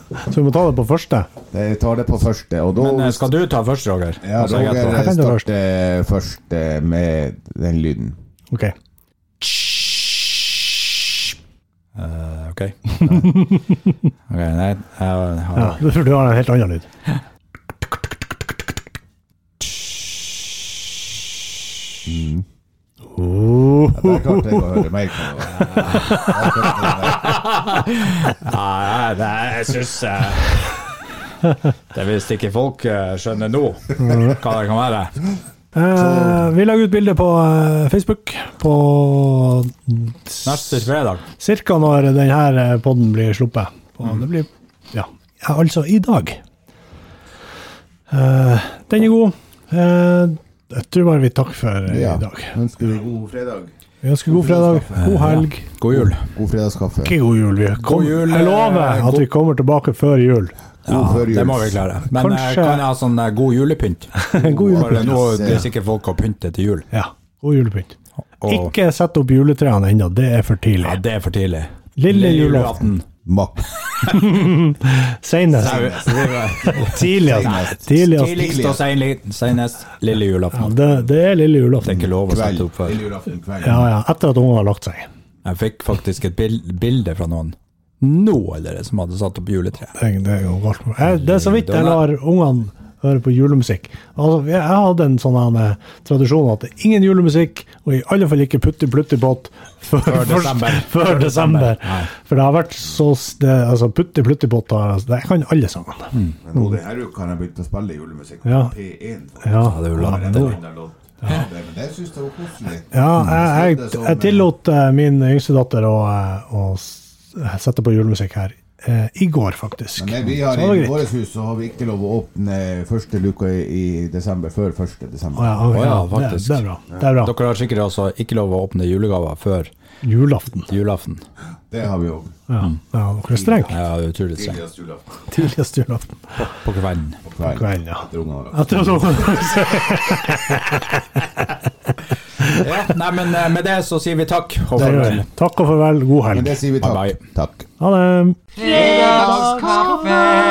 Så vi må ta det på første.
jeg tar det på første, og da
Men eh, skal du ta først, Roger? eh,
ja,
Og så jeg
Roger
etterpå.
Jeg kan ta først.
starter først eh, med den lyden.
Ok.
Eh, Ok. Ok, nei jeg har-
Ja, for du har en helt annen lyd.
[laughs]
Der klarte jeg å høre mer på det. Der klarte jeg det.
Nei, Ah, det, jeg syns Det er visst ikke folk eh, skjønner nå hva det kan være.
Eh, vi legger ut bilde på eh, Facebook på
Neste fredag.
ca. når denne poden blir sluppet. Og det blir ja, ja, altså i dag. Eh, den er god. Eh, jeg tror bare vi takker for eh,
Ja.
i dag.
Ønsker du god fredag.
Vi ønsker god fredag, god helg.
God jul.
God fredagskaffe.
Ikke god jul, vi. Kom,
God jul,
jeg lover
eh,
at
god-
vi kommer tilbake før jul.
God førjul.
Det må vi klare. Men eh,
Kanskje-
kan jeg ha sånn eh, god julepynt?
[laughs] God
For
julepynt.
nå det er sikkert folk har pyntet til jul.
Ja, god julepynt.
Og
Ikke sett opp juletrærne ennå, det er for
ja,
tidlig.
det er for tidlig.
[laughs] Lille julaften.
Mak.
Senest. Tidligst. Tidligst.
Tidligst og seinlig- seinest lille
Ja,
julaften.
det, det er lille
Det er
julaften.
ikke lov å sette opp for.
Lille julaften kveld.
Ja, ja. Etter at ungene har lagt seg.
Jeg fikk faktisk et bil bilde fra noen nå allerede som hadde satt opp juletre.
Det, det er jo galt. med- Jeg, det er så vidt jeg lar ungene høre på julemusikk. Altså, jeg, jeg hadde en sånn her, eh, tradisjon at det er ingen julemusikk, og i alle fall ikke Putti Plutti Pott før,
Før desember.
[laughs] før desember.
Nei.
For det har vært så s- det, altså, Putti Plutti Pott har- altså, Jeg kan alle sangene.
Mm.
Men nå denne uka har jeg begynt å spille julemusikk på
Ja.
P1. faktisk.
Ja,
det Mm. er jo
Bare
langt
en
nå.
annen låt. Ja, det, men det syns jeg var koselig.
ja jeg,
Det
jeg,
som,
jeg
eh,
tillot eh, min yngste datter å, eh, å s- sette på julemusikk her eh, i går, faktisk.
Men det, vi har
Så det var
i
greit.
vårt hus så har vi ikke lov å åpne første luka i, i desember før 1.
Å
desember.
ja,
Å ja,
ja, det,
faktisk.
det er bra. Det er bra.
Dere har sikkert altså ikke lov å åpne julegaver før
Julaften.
julaften.
Det har vi òg.
Ja, ja dere er strenge.
Mm. Ja, det er utrolig strengt.
Tidligst julaften
[laughs] Tidligst julaften.
På kvelden.
på kvelden.
Kvelden, ja.
Etter ungene har lagt seg.
Jeg tror
[laughs]
så.
Ja, nei, men eh, med det så sier vi takk. Og
Det gjør
farvel.
vi. Takk og farvel. God
Men
helg.
det sier vi
Bye bye.
takk. Takk.
Ha det.
Fredagskaffe!